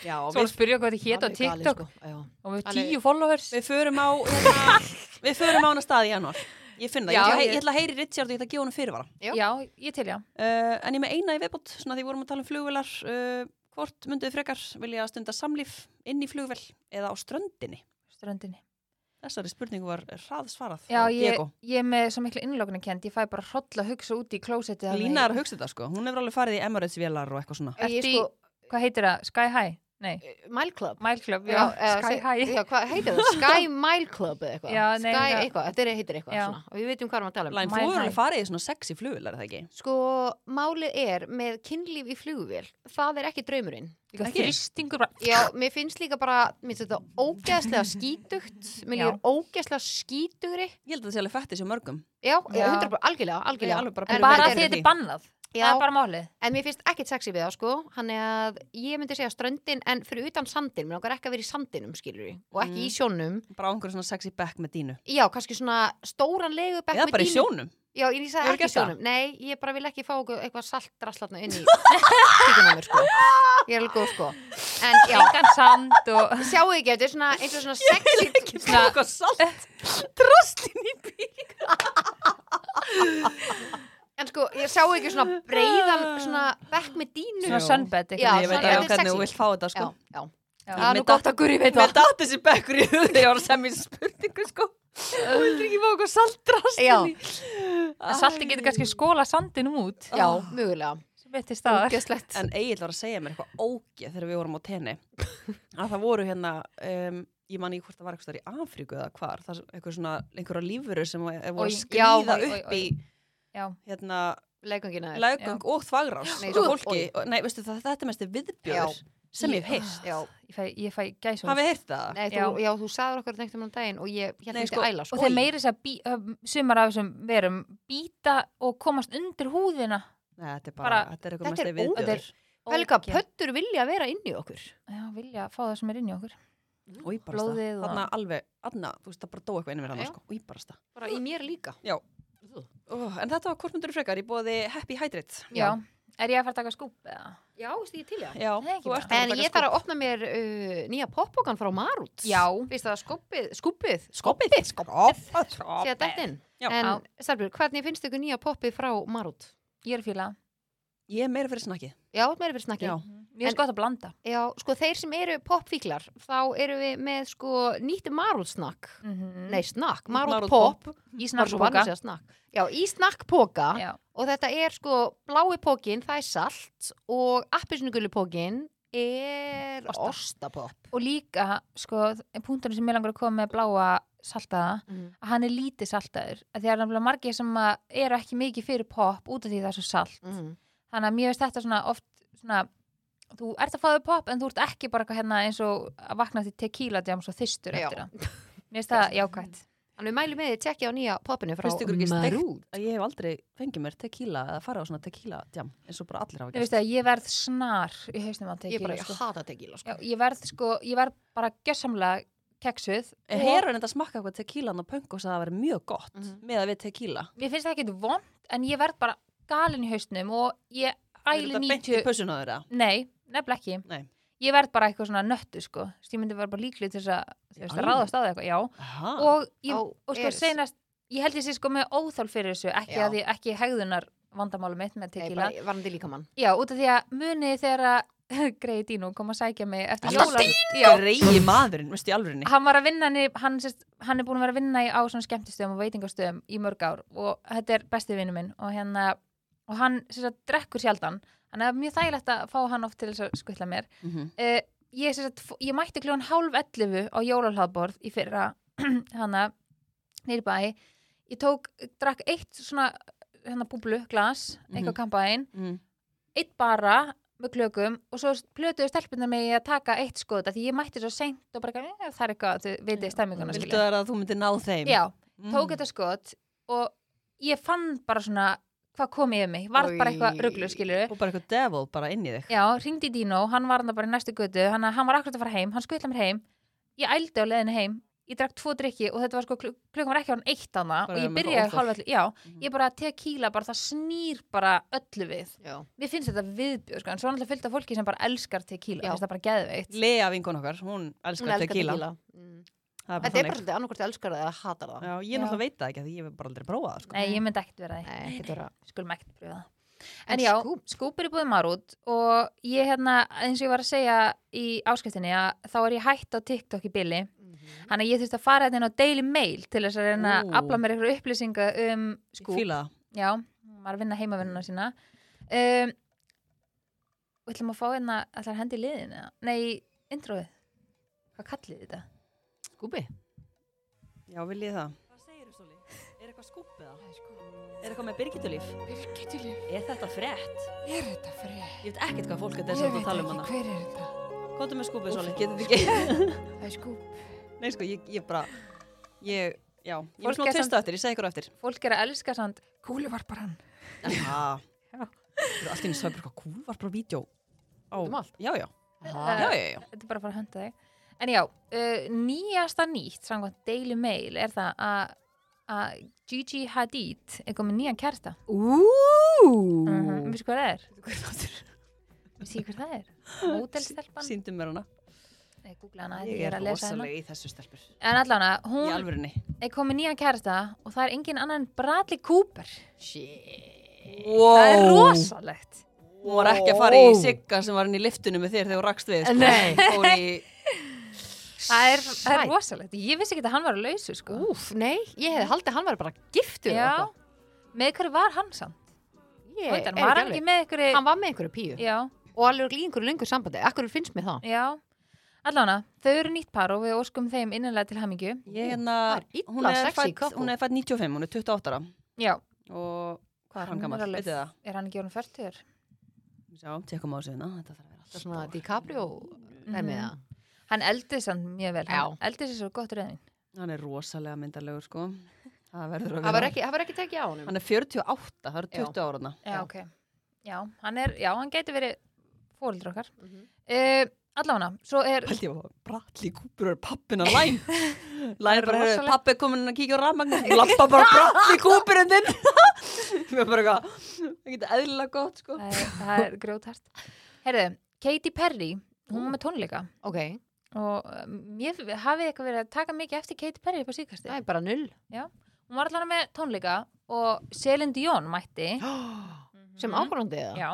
E: Já,
F: svo hann spurði okkur hvað þetta hétt á
E: Alveg galið,
F: TikTok
E: sko. Já.
F: og við
E: Hann er-
F: tíu followers
D: við förum á
E: *laughs*
D: hérna, við förum á hennar stað í janúar ég finn það,
E: Já,
D: ég, ætla, að
E: ég-
D: hei- ég ætla að heyri Richard og ég ætla að gefa hennar fyrirvara
E: Já.
F: já, ég til já
D: Uh, en ég með eina í viðbútt, svona því vorum að tala um flugvelar, uh, hvort mynduðu frekar vilja stunda samlíf inn í flugvel eða á ströndinni?
F: ströndinni
D: Þessari spurningu var hraðsvarað
F: Já,
E: Sko,
D: frá
F: ég,
D: Diego.
F: ég er með svo miklu innlókunarkend, ég fæ bara hrolla að hugsa út í klósetti.
D: Lína er að hugsa þetta sko, hún hefur alveg farið í Emirates vélar og eitthvað svona.
E: Ég
F: Ertu í,
E: sko,
F: hvað heitir það? Sky High? Nei,
E: Mile Club
F: Mile Club, já,
E: eða
F: Sky
E: se-
F: High.
E: Eh, já, hvað heitir það?
F: *laughs*
E: Sky Mile Club eða eitthvað
F: Já, nei,
E: Sky
F: já.
E: eitthvað, þetta er, heitir eitthvað
F: Já.
E: svona. og við veitum hvað við erum að tala um
D: Læn, þú
F: Mile
D: hefur
F: high.
D: alveg farið í svona sexy flugvél, er það ekki?
E: Sko, málið er með kynlíf í flugvél, það er ekki draumurinn.
D: Ekki?
F: Þrýstingur bara.
E: Já, mér finnst líka bara, mér finnst þetta ógeðslega skítugt, mér
F: Já.
E: líður ógeðslega skítugri.
D: Ég held að það sé alveg fætti sér mörgum.
E: Já,
F: Já.
E: já. 100% algjörlega, algjörlega.
D: alveg bara
E: en,
D: pínu
F: Bara
E: þetta
F: að
E: er,
F: þetta er bannað.
E: já,
F: Það er bara málið.
E: en mér finnst ekkert sexy við það, sko. Hann er að, ég myndi segja ströndin, en fyrir utan sandin, mér langar ekki að vera í sandinum, skilur við, og
D: Mm.
E: ekki í sjónum.
D: Bara á einhverju svona sexy back með dínu.
E: Já, kannski svona stóran legubekk
D: Eða bara í sjónum.
E: Já, ég
D: Hefur
E: sagði ekki
D: gert það?
E: sjónum. Nei, ég bara vil ekki fá okkur eitthvað saltdraslatna
D: *laughs*
E: inn í tíkuna mér, sko. Ég er alveg góð, sko. En já,
F: Engan sand og...
E: sjáu ekki, þetta er svona
D: *laughs*
E: eins og svona sexy, svona,
D: Eitthvað salt. Drastlinn í bíl.
E: en sko, ég sjáu ekki svona breiðan, svona bekk með dínu.
F: *laughs* Svona
D: Já.
F: sunbed
E: Já,
D: Ég
F: eitthvað.
D: veit
E: svona-
D: alveg
E: þetta er
D: hvernig
E: sexy.
D: þú vilt fá þetta
E: Já,
D: sko.
E: já.
F: Já.
E: Það er nú
D: Mér
E: gott að gurri veit
D: Mér
E: það.
D: datt þessi bekkur í hug þegar ég var að semja þessa spurningu sko. Þú vildir ekki fá okkur saltdrastlinn
E: Já.
D: í.
F: En salti getur kannski skóla sandinum út.
E: Já,
D: Ah.
E: mögulega.
F: Sem betur staðar.
E: Ógeðslegt.
D: En Egil var að segja mér eitthvað ógeð þegar við vorum á *laughs* tenni að það voru hérna um, ég man ekki hvort það var eitthvað í Afríku eða hvar, það er eitthvað svona einhverja lífuru sem var- voru að
F: Oj,
D: skrýða
F: já, oj, oj,
D: upp í
F: Já.
D: hérna
E: Leikungina þér.
D: laugöng og þvagrás
E: Nei,
D: og
E: svo-
D: fólki, og, nei veistu það, þetta er mest viðbjör
E: Já.
D: sem ég hef heyrst
E: Já.
F: Ég fæ, ég fæ gæsum.
D: hafið heyrt það?
E: Nei, þú, já, þú sagður okkur þetta einhvern veginn um daginn og ég held
D: Nei,
E: ekki
D: sko,
E: að æla, sko.
F: Og þeir meiri þess að bí, um, sumar af þessum verum býta og komast undir húðina.
D: Nei, þetta er bara,
F: Bara-
D: þetta er eitthvað
E: Þetta
D: mest
E: er
D: viðbjör
E: ógeð. Helga,
F: Ógeð.
E: pöttur vilja vera inn í okkur.
F: Já, vilja fá það sem er inn í okkur.
D: og ég bara
F: Blóðið og-
D: þarna alveg, þarna, þú veist það bara dó eitthvað innum mér hann
E: Já.
D: sko, og ég bara Oh,
E: Bara í mér líka.
D: en þetta var hvort myndur frekar, ég bóði Happy Hydrate
F: Já. Er ég að fara að taka skúp eða?
E: Já, stíði til það.
D: Já,
F: Það er ekki
D: þú
F: bara-
D: ert að
E: En
D: taka
E: ég
D: skóp.
E: þarf að opna mér uh, nýja poppokan frá Marút.
F: Já.
E: Fyrst það skúpið, skúpið,
D: Skoppið Skoppið
E: séða dættinn.
D: sko. Já.
E: En,
F: Já.
E: Starbjörn, hvernig finnst ykkur nýja poppið frá Marút?
F: Ég er fíla.
D: Ég er meira fyrir snakkið
E: Já, meira fyrir snakki.
D: Já.
F: Mér
E: En-
F: er sko gott að blanda.
E: Já, sko þeir sem eru popfíklar, þá eru við með sko nýtt Marút-snakk.
F: Mm -hmm.
E: Nei, snakk,
D: Mhm. Marút
E: Marút-pop.
F: í
E: Var svo
F: snakkbóka.
E: vanur að segja snakk. Já, í snakkpoka
F: Já.
E: og þetta er sko blái pókin, það er salt og appisnugullu pókin er
F: Osta.
E: ostapopp.
F: Og líka, sko, punktunum sem ég langar að koma með bláa saltaða,
E: Mm.
F: að hann er lítið saltaður. Af Því að það er nefnilega margir sem að eru ekki mikið fyrir pop út af því það er svo salt.
D: Mhm.
E: Mm.
F: Þannig að mér veist þetta svona oft svona, þú ert að fáðu pop en þú ert ekki bara eitthvað hérna eins og að vakna því tequila jams og þystur
E: Já. Mm.
F: eftir það.
E: *laughs*
F: Mér veist það jákvæmt.
E: Þannig við mælum með því að tekja á nýja popinu frá
D: Finnst ykkur ekki steikt?
E: Marút.
D: að ég hef aldrei fengið mér tequila eða farið á svona tequila jam eins og bara allir hafa
F: Ég veist það, ég verð snar í hausnum að
E: Ég bara,
F: tequila.
E: ég
F: Sko.
E: hata tequila, sko.
F: Já, ég verð sko, ég verð bara gjössamlega keksuð.
D: En
F: og-
D: hér er þetta smakka eitthvað tequilan og pönk og það að vera mjög gott
E: Mhm.
D: með að við tequila
F: Mér finnst það ekki vond en ég verð bara galin í hausnum og ég æli
D: Er þetta beint í
F: 90
D: pössun á þeirra?
F: Nei, nefnilega ekki.
D: Nei.
F: Ég verð bara eitthvað svona nöttu, sko. Þess ég myndi vera bara líklega til þess að, þú veist, að
D: alvöru?
F: ráðast á það eitthvað, já.
D: Aha.
F: Og, ég,
E: Á
F: og sko
E: Eris.
F: senast, ég held ég sé sko með óþál fyrir þessu, ekki,
E: Já.
F: að því, ekki hegðunar vandamálu mitt með
E: Nei,
F: tequila.
E: bara varandi líkamann.
F: Já, út af því að munið þegar að *laughs* greiði Dino kom að sækja mig eftir
D: Alltaf
F: jólan. Já,
D: Greiði maðurinn, veistu í alvörinni
F: hann var að vinna, hann, í- hann, sérst, hann er búin að vera að vinna í, á svona skemmtistöðum og veitingastöðum í mörg ár og þetta er besti vinnu minn og, hérna, og hann sérst, drekkur sjaldan. Þannig að það er mjög þægilegt að fá hann oft til þess að skutla mér
D: Mhm.
F: uh, ég, sem sagt, fó- ég mætti kljóðan hálf 11 á jólalhlaðborð í fyrra *clears throat* hana, nýri bæ ég tók, drakk eitt svona hérna búblu, glas, eitthvað
D: Mhm.
F: kampaðin
D: Mhm.
F: eitt bara með klökum og svo plötuðu stelpunar mig í að taka eitt skoða því ég mætti svo seint og bara eitthvað, "Eh, það er eitthvað, þau veitir stemminguna
D: Viltu
F: skilja."
D: það að þú myndir náð þeim?
F: Já,
D: Mm.
F: tók þetta skot og ég fann bara svona hvað kom yfir mig, varð bara eitthvað
E: Oj.
F: rugglu
D: *laughs*
F: skilju
D: Og bara eitthvað devil bara inn í þig
F: Já, ringdi í Dino, hann var hann bara í næstu götu, hann, hann var akkurat að fara heim, hann skutla mér heim, ég ældi á leiðinu heim, ég drakk tvo drikki og þetta var sko, kl- klukkan var ekki hann eitt hana
D: Bara Mm.
F: og ég
D: með
F: byrjaði
D: óþol.
F: hálfa allir, já, ég bara tequila, bara það snýr bara öllu við.
E: Já.
F: Mér finnst þetta viðbjörg, sko, en svo er alltaf fyllt af fólki sem bara elskar tequila,
E: Já.
F: finnst það bara geðveikt.
D: Lea vinkon okkar, hún
E: Hún
D: elskar
E: elskar
D: tequila
E: tequila. Mm.
D: Það
E: Þetta er
D: þannig.
E: bara svolítið annarkvort elskar það eða hatar það.
D: Já, ég
F: Já.
D: náttúrulega veit það ekki að ég hef bara aldrei prófað það sko.
F: Nei, ég myndi ekkert vera það,
E: Nei, ekki vera.
F: skulum ekkert pröfa það. En
E: En
F: já,
E: skúp?
F: skúp er í búið marút og ég hérna, eins og ég var að segja í áskiptinni að þá er ég hætt á TikTok í billi
E: Mm.
F: Þannig að ég þurfti að fara hérna inn á Daily Mail til þess að reyna að
D: Ú.
F: afla mér eitthvað upplýsinga um skúb.
D: Fíla það.
F: Já, maður að vinna heimavinnuna sína. Um, við ætlum að fá hérna, ætlar hendi í liðin eða? Nei, í introið. Hvað kallið þetta?
E: Skúbi?
D: Já, vil ég það.
A: Hvað segir þú, Sóli? Er eitthvað skúpið það? Er eitthvað með Birgitulíf?
B: Birgitulíf,
A: Er þetta frétt?
B: er þetta frið?
A: Ég veit ekkert hvað fólk þetta er sem þú tala um hana.
B: hver er þetta.
A: Kóttu með skúpið, Sóli.
D: Getur þetta ekki?
B: Það er skúp.
D: *laughs* Nei, sko, ég, ég bara, ég, já, ég
F: Fólk
D: er svona
F: er
D: tvistu eftir, ég segi ykkur á eftir.
F: Fólk er að elska samt,
B: Kúluvarparann.
D: Já. Þú eru allt í einu svo eitthvað cool, var bara vídeo. Á,
E: Út um allt?
D: já, já,
E: Aha.
D: já, já, já.
F: þetta er bara að fara að hönda þig. En já, uh, nýjasta nýtt, samkvæmt Daily Mail, er það að að Gigi Hadid er komið nýjan kærsta.
E: Ú!
F: Mm -hmm. Vissu hvað það er? Vissu hvað það er? Mótelstelpan?
D: Sýndu mér hana.
F: Nei, googla hana, ég er að lesa hana.
D: í þessu stelpur.
F: En allan að
D: Í
F: hún
D: alvörinni.
F: er komið nýjan kærasta og það er engin annan en Bradley Cooper.
D: Wow.
F: Það er rosalegt.
D: Hún var ekki að fara í Sigga sem var inn í liftinu með þér þegar þú rakst við. Sko.
E: Nei.
D: Fór í,
F: Það er, það er
E: Sæt.
F: rosalegt. Ég vissi ekki að hann var að lausu, sko.
E: Úf, nei, ég hefði haldið að hann var bara giftur eða
F: Já. Með hverju var hann samt?
E: eitthvað. Ég
F: Ég,
E: er
F: Veitar, var hann
E: alveg-
F: ekki með einhverju...
E: Hann var með einhverju píu
F: Já,
E: og alveg í einhverju lengur sambandi. Akkur finnst mér það?
F: já. Allána, þau eru nýtt par og við óskum þeim innanlega til hamingju.
D: ég hérna,
E: Það er illa
D: hún er
E: sexy
D: fætt,
E: couple.
D: hún er fætt 95, hún er 28 ára
F: Já.
D: og hvað er
F: Hann
D: hann
F: er
D: gammal,
F: alveg-
D: veitu það?
F: Er hann ekki orðin 40?
D: Sjá, tekum á þessu hérna, þetta þarf að vera
E: Það er
D: alltaf
E: svona DiCaprio dæmið það.
F: Hann eldist hann mjög vel.
E: Já.
F: Hann eldist þessu gott reyðin.
D: Hann er rosalega myndarlegur sko. Það verður að
E: Það var
D: vera.
E: ekki, það var ekki tekið á honum.
D: Hann er 48, það eru
E: Já.
D: 20 ára þarna.
F: Já, ok. Já, hann er, já, hann gæti verið fóreldur okkar. Mm
E: Mhm.
F: Allána, svo er
D: Held ég að Bradley Cooper er pappin að
F: *laughs*
D: læn. Læn er bara,
F: rosalegt.
D: heyrðu, pappi er komin að kíkja á
F: *laughs*
D: rafmagnin. Lappa bara Bradley Cooperinn þinn. *laughs* Mér bara eitthvað, það getur eðlilega gott sko.
F: það er, það er grjótart Herðu, Katy Perry hún var með tónleika
E: Ok,
F: og um, ég hafið eitthvað verið að taka mikið eftir Katy Perry upp á síkast
E: það er bara null.
F: hún var allavega með tónleika og Celine Dion mætti
E: Sem ákvörðandi eða?
F: já,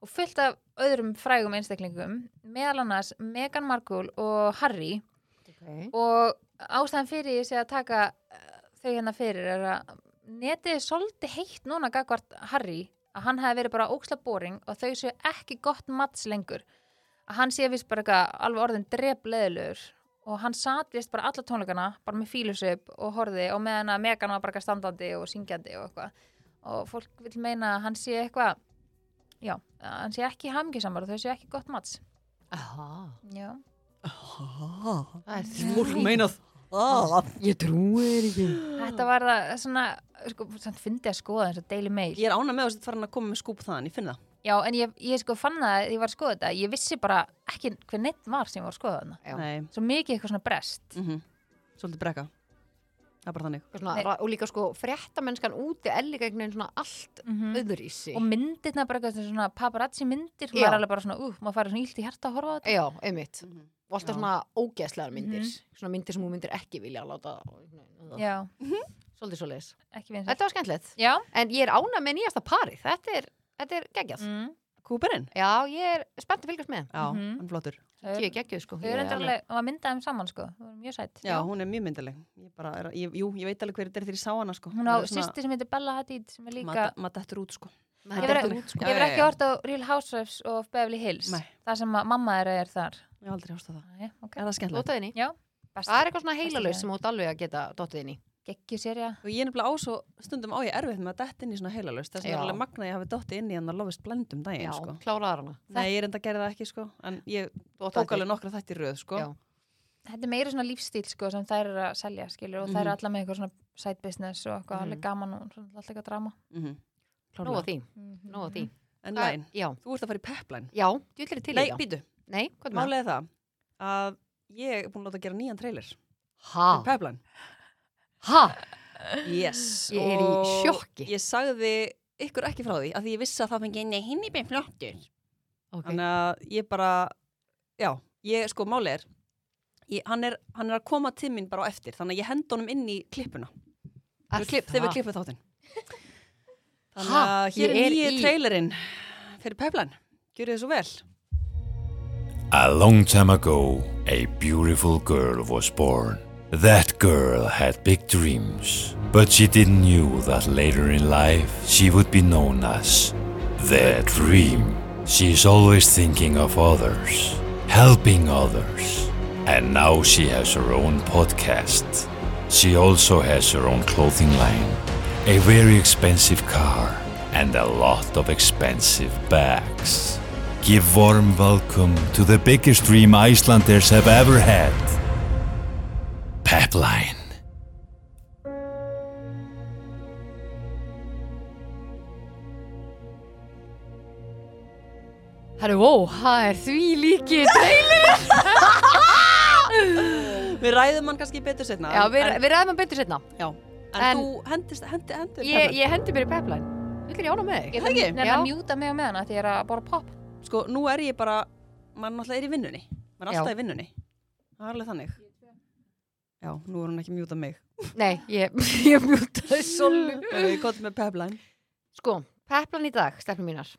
F: og fullt af öðrum frægum einstaklingum meðal annars Meghan Markle og Harry
E: Ok.
F: og ástæðan fyrir ég sé að taka eh, þau hérna fyrir er að netið er svolítið heitt núna gagvart Harry að hann hefði verið bara óksla boring og þau séu ekki gott matts lengur að hann sé vist bara eitthvað alveg orðin drefleðilegur og hann satt vist bara alla tónleikana bara með fílusup og horði og meðan að Megan var bara eitthvað standandi og syngjandi og eitthvað og fólk vil meina að hann sé eitthvað já, að hann sé ekki hamgisamar og þau séu ekki gott matts
E: Aha,
F: já,
E: það er því.
D: Fólk meina það.
E: Ég trúir ekki.
F: þetta var það svona, sko, samt fyndi að skoða eins og Daily Mail
D: Ég er ána með þess að fara hann að koma með skúp þaðan, ég finn það.
F: Já, en ég, ég sko fann það að ég var að skoða þetta ég vissi bara ekki hver neitt var sem ég var að skoða þarna
E: Já.
D: Nei,
F: svo mikið eitthvað svona brest
D: mhm. Svolítið brekka. Það er bara þannig.
E: Svona,
F: Nei.
E: ra- og líka sko fréttamennskan úti er líka einhvern veginn svona allt
D: Mm-hmm.
E: öðrísi.
F: Mhm. og myndirna bara eitthvað svona paparazzi myndir
E: Já.
F: maður er alveg bara svona, uh, maður farið svona ílt í hjarta að horfa á þetta
E: Já, einmitt.
D: Mhm.
E: Og alltaf
D: Já.
E: svona ógeðslegar myndir.
F: Mhm.
E: Svona myndir sem hún myndir ekki vilja láta.
F: Já,
E: Svolítið svolítið.
F: ekki við
E: Þetta var skemmtilegt.
F: Já,
E: En ég er ána með nýjasta parið. Þetta er, þetta er geggjað.
F: mm.
D: Cooperinn?
E: Já, ég er spennt að fylgjast með.
D: Já,
F: Mhm.
D: hann er flottur.
E: Ég er
F: þau
E: geggjuð sko.
F: eru
E: Ég
F: endur
E: alveg-
F: alveg, maður myndaði þeim saman sko það var mjög sætt
D: Já, hún er mjög myndarleg. Ég bara er, að- ég, jú, ég veit alveg hver þetta er þegar ég sá hana, sko.
F: Hún á
D: er svona-
F: sýsti sem heitir Bella Hadid sem er líka,
D: Maður ma dættur út, sko.
E: Þetta
F: Ég
E: er
F: verð-
E: alveg út, sko.
F: ég
D: Já,
F: verð
D: já,
F: ekki
D: já.
F: hort á Real Housewives of Beverly Hills
D: Nei.
F: það sem að mamma þeirra er þar
D: Ég hef aldrei hást á það.
F: Æ, ok,
D: Er það skemmtilegt?
E: Lótaðinni.
F: best
E: Það er eitthvað svona heilalaus
F: Besta
E: sem þú ert alveg að geta dottið inn í.
F: geggjur sér já
D: Og ég er nefnilega á svo, stundum á ég erfið með að detta inn í svona heilalaust. Þess að ég
E: Já.
D: er alveg magna að ég hafi dotti inn í hann að lofist blendum daginn,
E: Já,
D: sko.
E: kláraðar hana.
D: Nei, ég er enda að gera það ekki, sko. En ég
E: Þú átt
D: tók
E: eftir.
D: alveg nokkra þætti í röð, sko.
E: Já.
F: þetta er meira svona lífstíl sko sem þær eru að selja skilur og þær eru
D: Mhm.
F: allar með eitthvað svona side business og eitthvað
E: Mhm.
F: alveg gaman og svona, alltaf eitthvað drama
D: Mm -hmm.
E: Nóg að því,
F: mm
E: Mhm, nóg að því.
D: En Mhm. læn,
E: Já,
D: þú ert að fara í peplæn.
E: já, djúllir til í
D: Nei,
E: það.
D: býtu,
E: Nei, hvað er maður?
D: málega það að ég er búin að láta gera nýjan trailer.
E: Ha,
D: Ah. Peplæn.
E: ha,
D: Yes.
E: Ég er í
D: og
E: sjokki.
D: Ég sagði ykkur ekki frá því, að því ég vissi að það fengi henni hinn í bein flottur.
E: ok.
D: Þannig að ég bara, já, ég sko máli er, ég, hann er, hann er að koma til mín bara á eftir, þannig að ég hend honum inn í klippuna, þegar við, klipp, þegar við klippum þáttinn. Þannig
E: Ha,
D: að hér er
E: ég er
D: nýju
E: í-
D: trailerinn fyrir Peplan, gjör þið svo vel.
G: A long time ago, a beautiful girl was born. That girl had big dreams, but she didn't knew that later in life she would be known as the dream. She's always thinking of others, helping others, and now she has her own podcast. She also has her own clothing line, a very expensive car, and a lot of expensive bags. Give warm welcome to the biggest dream Icelanders have ever had. Pepline.
E: Herru, ó, það er því líki trailer.
D: Við ræðum hann kannski betur setna
E: Já,
D: en-
E: við,
D: en,
E: við ræðum að betur setna.
D: já, en,
E: en-
D: þú hendist, hendi, hendi
E: Ég, ég hendi mér í pepline. Villir ég ána með þig?
D: Ég það ekki?
F: Nefnir
E: Já.
F: að mjúta mig á meðan að því ég er að bora pop
D: Sko, nú er ég bara, mann náttúrulega er í vinnunni Mann er
E: Já.
D: alltaf í vinnunni Það er alveg þannig Já, nú er hann ekki að mjúta mig
E: Nei, ég, *laughs* ég mjútaði solu.
D: Við kóttum með pepline
E: Sko, peplan í dag, stefnum mínar.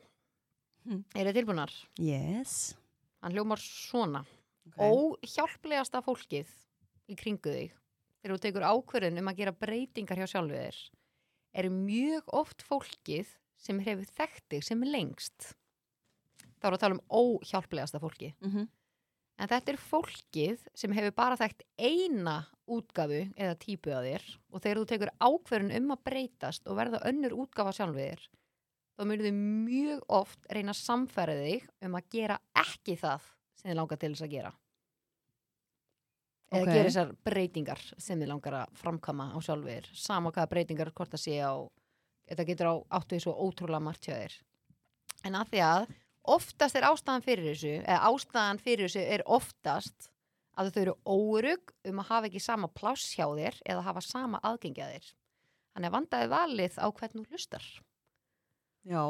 D: Hmm.
E: Er þið tilbúnar?
D: Yes
E: Hann hljómar svona.
D: Ok.
E: Óhjálplegasta fólkið í kringu þig þegar þú tekur ákvörðin um að gera breytingar hjá sjálfu þér er mjög oft fólkið sem hefur þekkt þig sem lengst. Þá er að tala um óhjálplegasta fólkið.
D: Mhm.
E: En þetta er fólkið sem hefur bara þekkt eina útgafu eða típu að þér og þegar þú tekur ákverðin um að breytast og verða önnur útgafa sjálfið þér þá myndir þau mjög oft reyna að samfæra þig um að gera ekki það sem þið langar til þess að gera eða
D: Ok.
E: gera þessar breytingar sem þið langar að framkama á sjálfið þér sama hvaða breytingar hvort það sé á þetta getur á áttu því svo ótrúlega margt hjá þér en að því að oftast er ástæðan fyrir þessu eða ástæðan fyrir þessu er oftast að þau eru órug um að hafa ekki sama pláss hjá þér eða hafa sama aðgengi að þér þannig að vandaði valið á hvern þú hlustar
D: Já,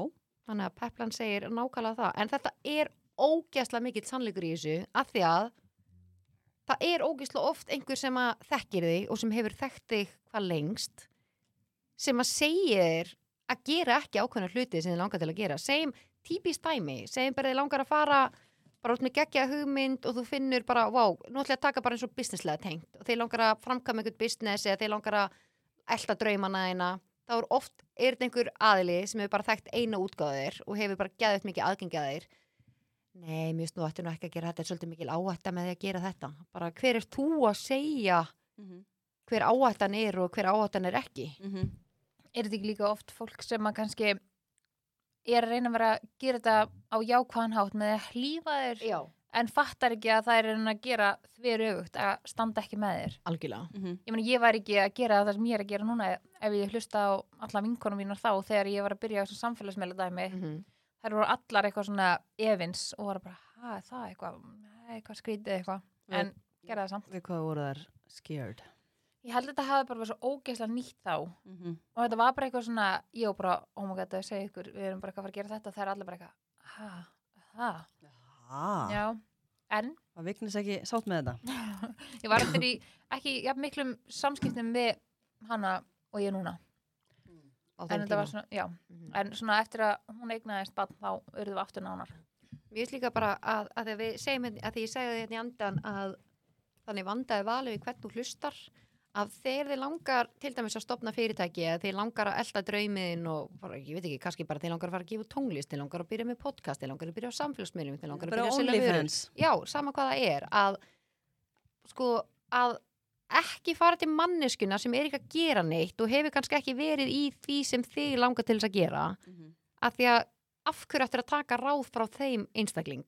E: þannig að Peplan segir nákvæmlega það en þetta er ógæslega mikill sannleikur í þessu af því að það er ógæslega oft einhver sem að þekkir þig og sem hefur þekkt þig hvað lengst sem að segja þér að gera ekki ákveðna hluti sem þið langar til að gera segjum típist dæmi, segjum bara þið langar að fara bara út með geggja hugmynd og þú finnur bara, vá, nú ætla ég að taka bara eins og businesslega tengt og þeir langar að framkama einhvern business eða þeir langar að elta draumana þeina þá er oft, er þetta einhver aðili sem hefur bara þekkt eina útgáðu þér og hefur bara geðið mikið aðgengi að þér Nei, mjög snú, ættu nú ekki að gera þetta er svolítið mikil áhætta með því að gera þetta bara hver er þú að segja
D: Mhm.
E: hver áhættan er og hver áhættan er ekki
F: Er þetta ekki líka oft fólk sem að kannski er að reyna að vera að gera þetta á jákvæðan hátt með að hlýfa þér
E: Já,
F: en fattar ekki að það er að gera þver öfugt að standa ekki með þér
E: algjörlega
D: Mhm.
F: ég meina ég var ekki að gera það sem ég er að gera núna ef ég hlusta á alla vinkonum mínar þá þegar ég var að byrja á þessum samfélagsmeila dæmi
E: mm
F: þær voru allar eitthvað svona evins og var bara, hæ, það er eitthvað það er eitthvað skrítið eitthvað, en gera það samt
D: við hvað voru þær scared
F: ég held að þetta hafi bara verið svo ógeðslega nýtt þá og
D: mm -hmm.
F: þetta var bara eitthvað svona ég var bara, oh my god, það segja ykkur við erum bara eitthvað að fara að gera þetta og það er allir bara eitthvað hæ, hæ,
D: ah,
F: já en
D: Það vignis ekki sátt með þetta
F: ég var eftir í ekki ja, miklum samskiptum við hana og ég núna
E: á
F: en
E: þeim
F: þetta
E: tíma
F: var svona, já,
E: Mhm.
F: en svona eftir að hún eignaðist bann þá urðum við aftur nánar
E: Mér finnst líka bara að, að þegar við segjum hérna- að því ég segja þetta í andan að þannig vandaði valið við hvern þú hlustar að þegar þið langar til dæmis að stopna fyrirtæki eða þið langar að elda draumiðin og bara, ég veit ekki, kannski bara þið langar að fara að gefa út tónlist, þið langar að byrja með podcast þið langar að byrja á samfélagsmiðlum, þið langar að
D: Bara
E: byrja að selja vörur.
D: OnlyFans
E: Já, sama hvað það er að sko að ekki fara til manneskuna sem er ekki að gera neitt og hefur kannski ekki verið í því sem þig langar til þess að gera
D: Mhm.
E: af því að af hverju ættir að taka ráð frá þeim einstakling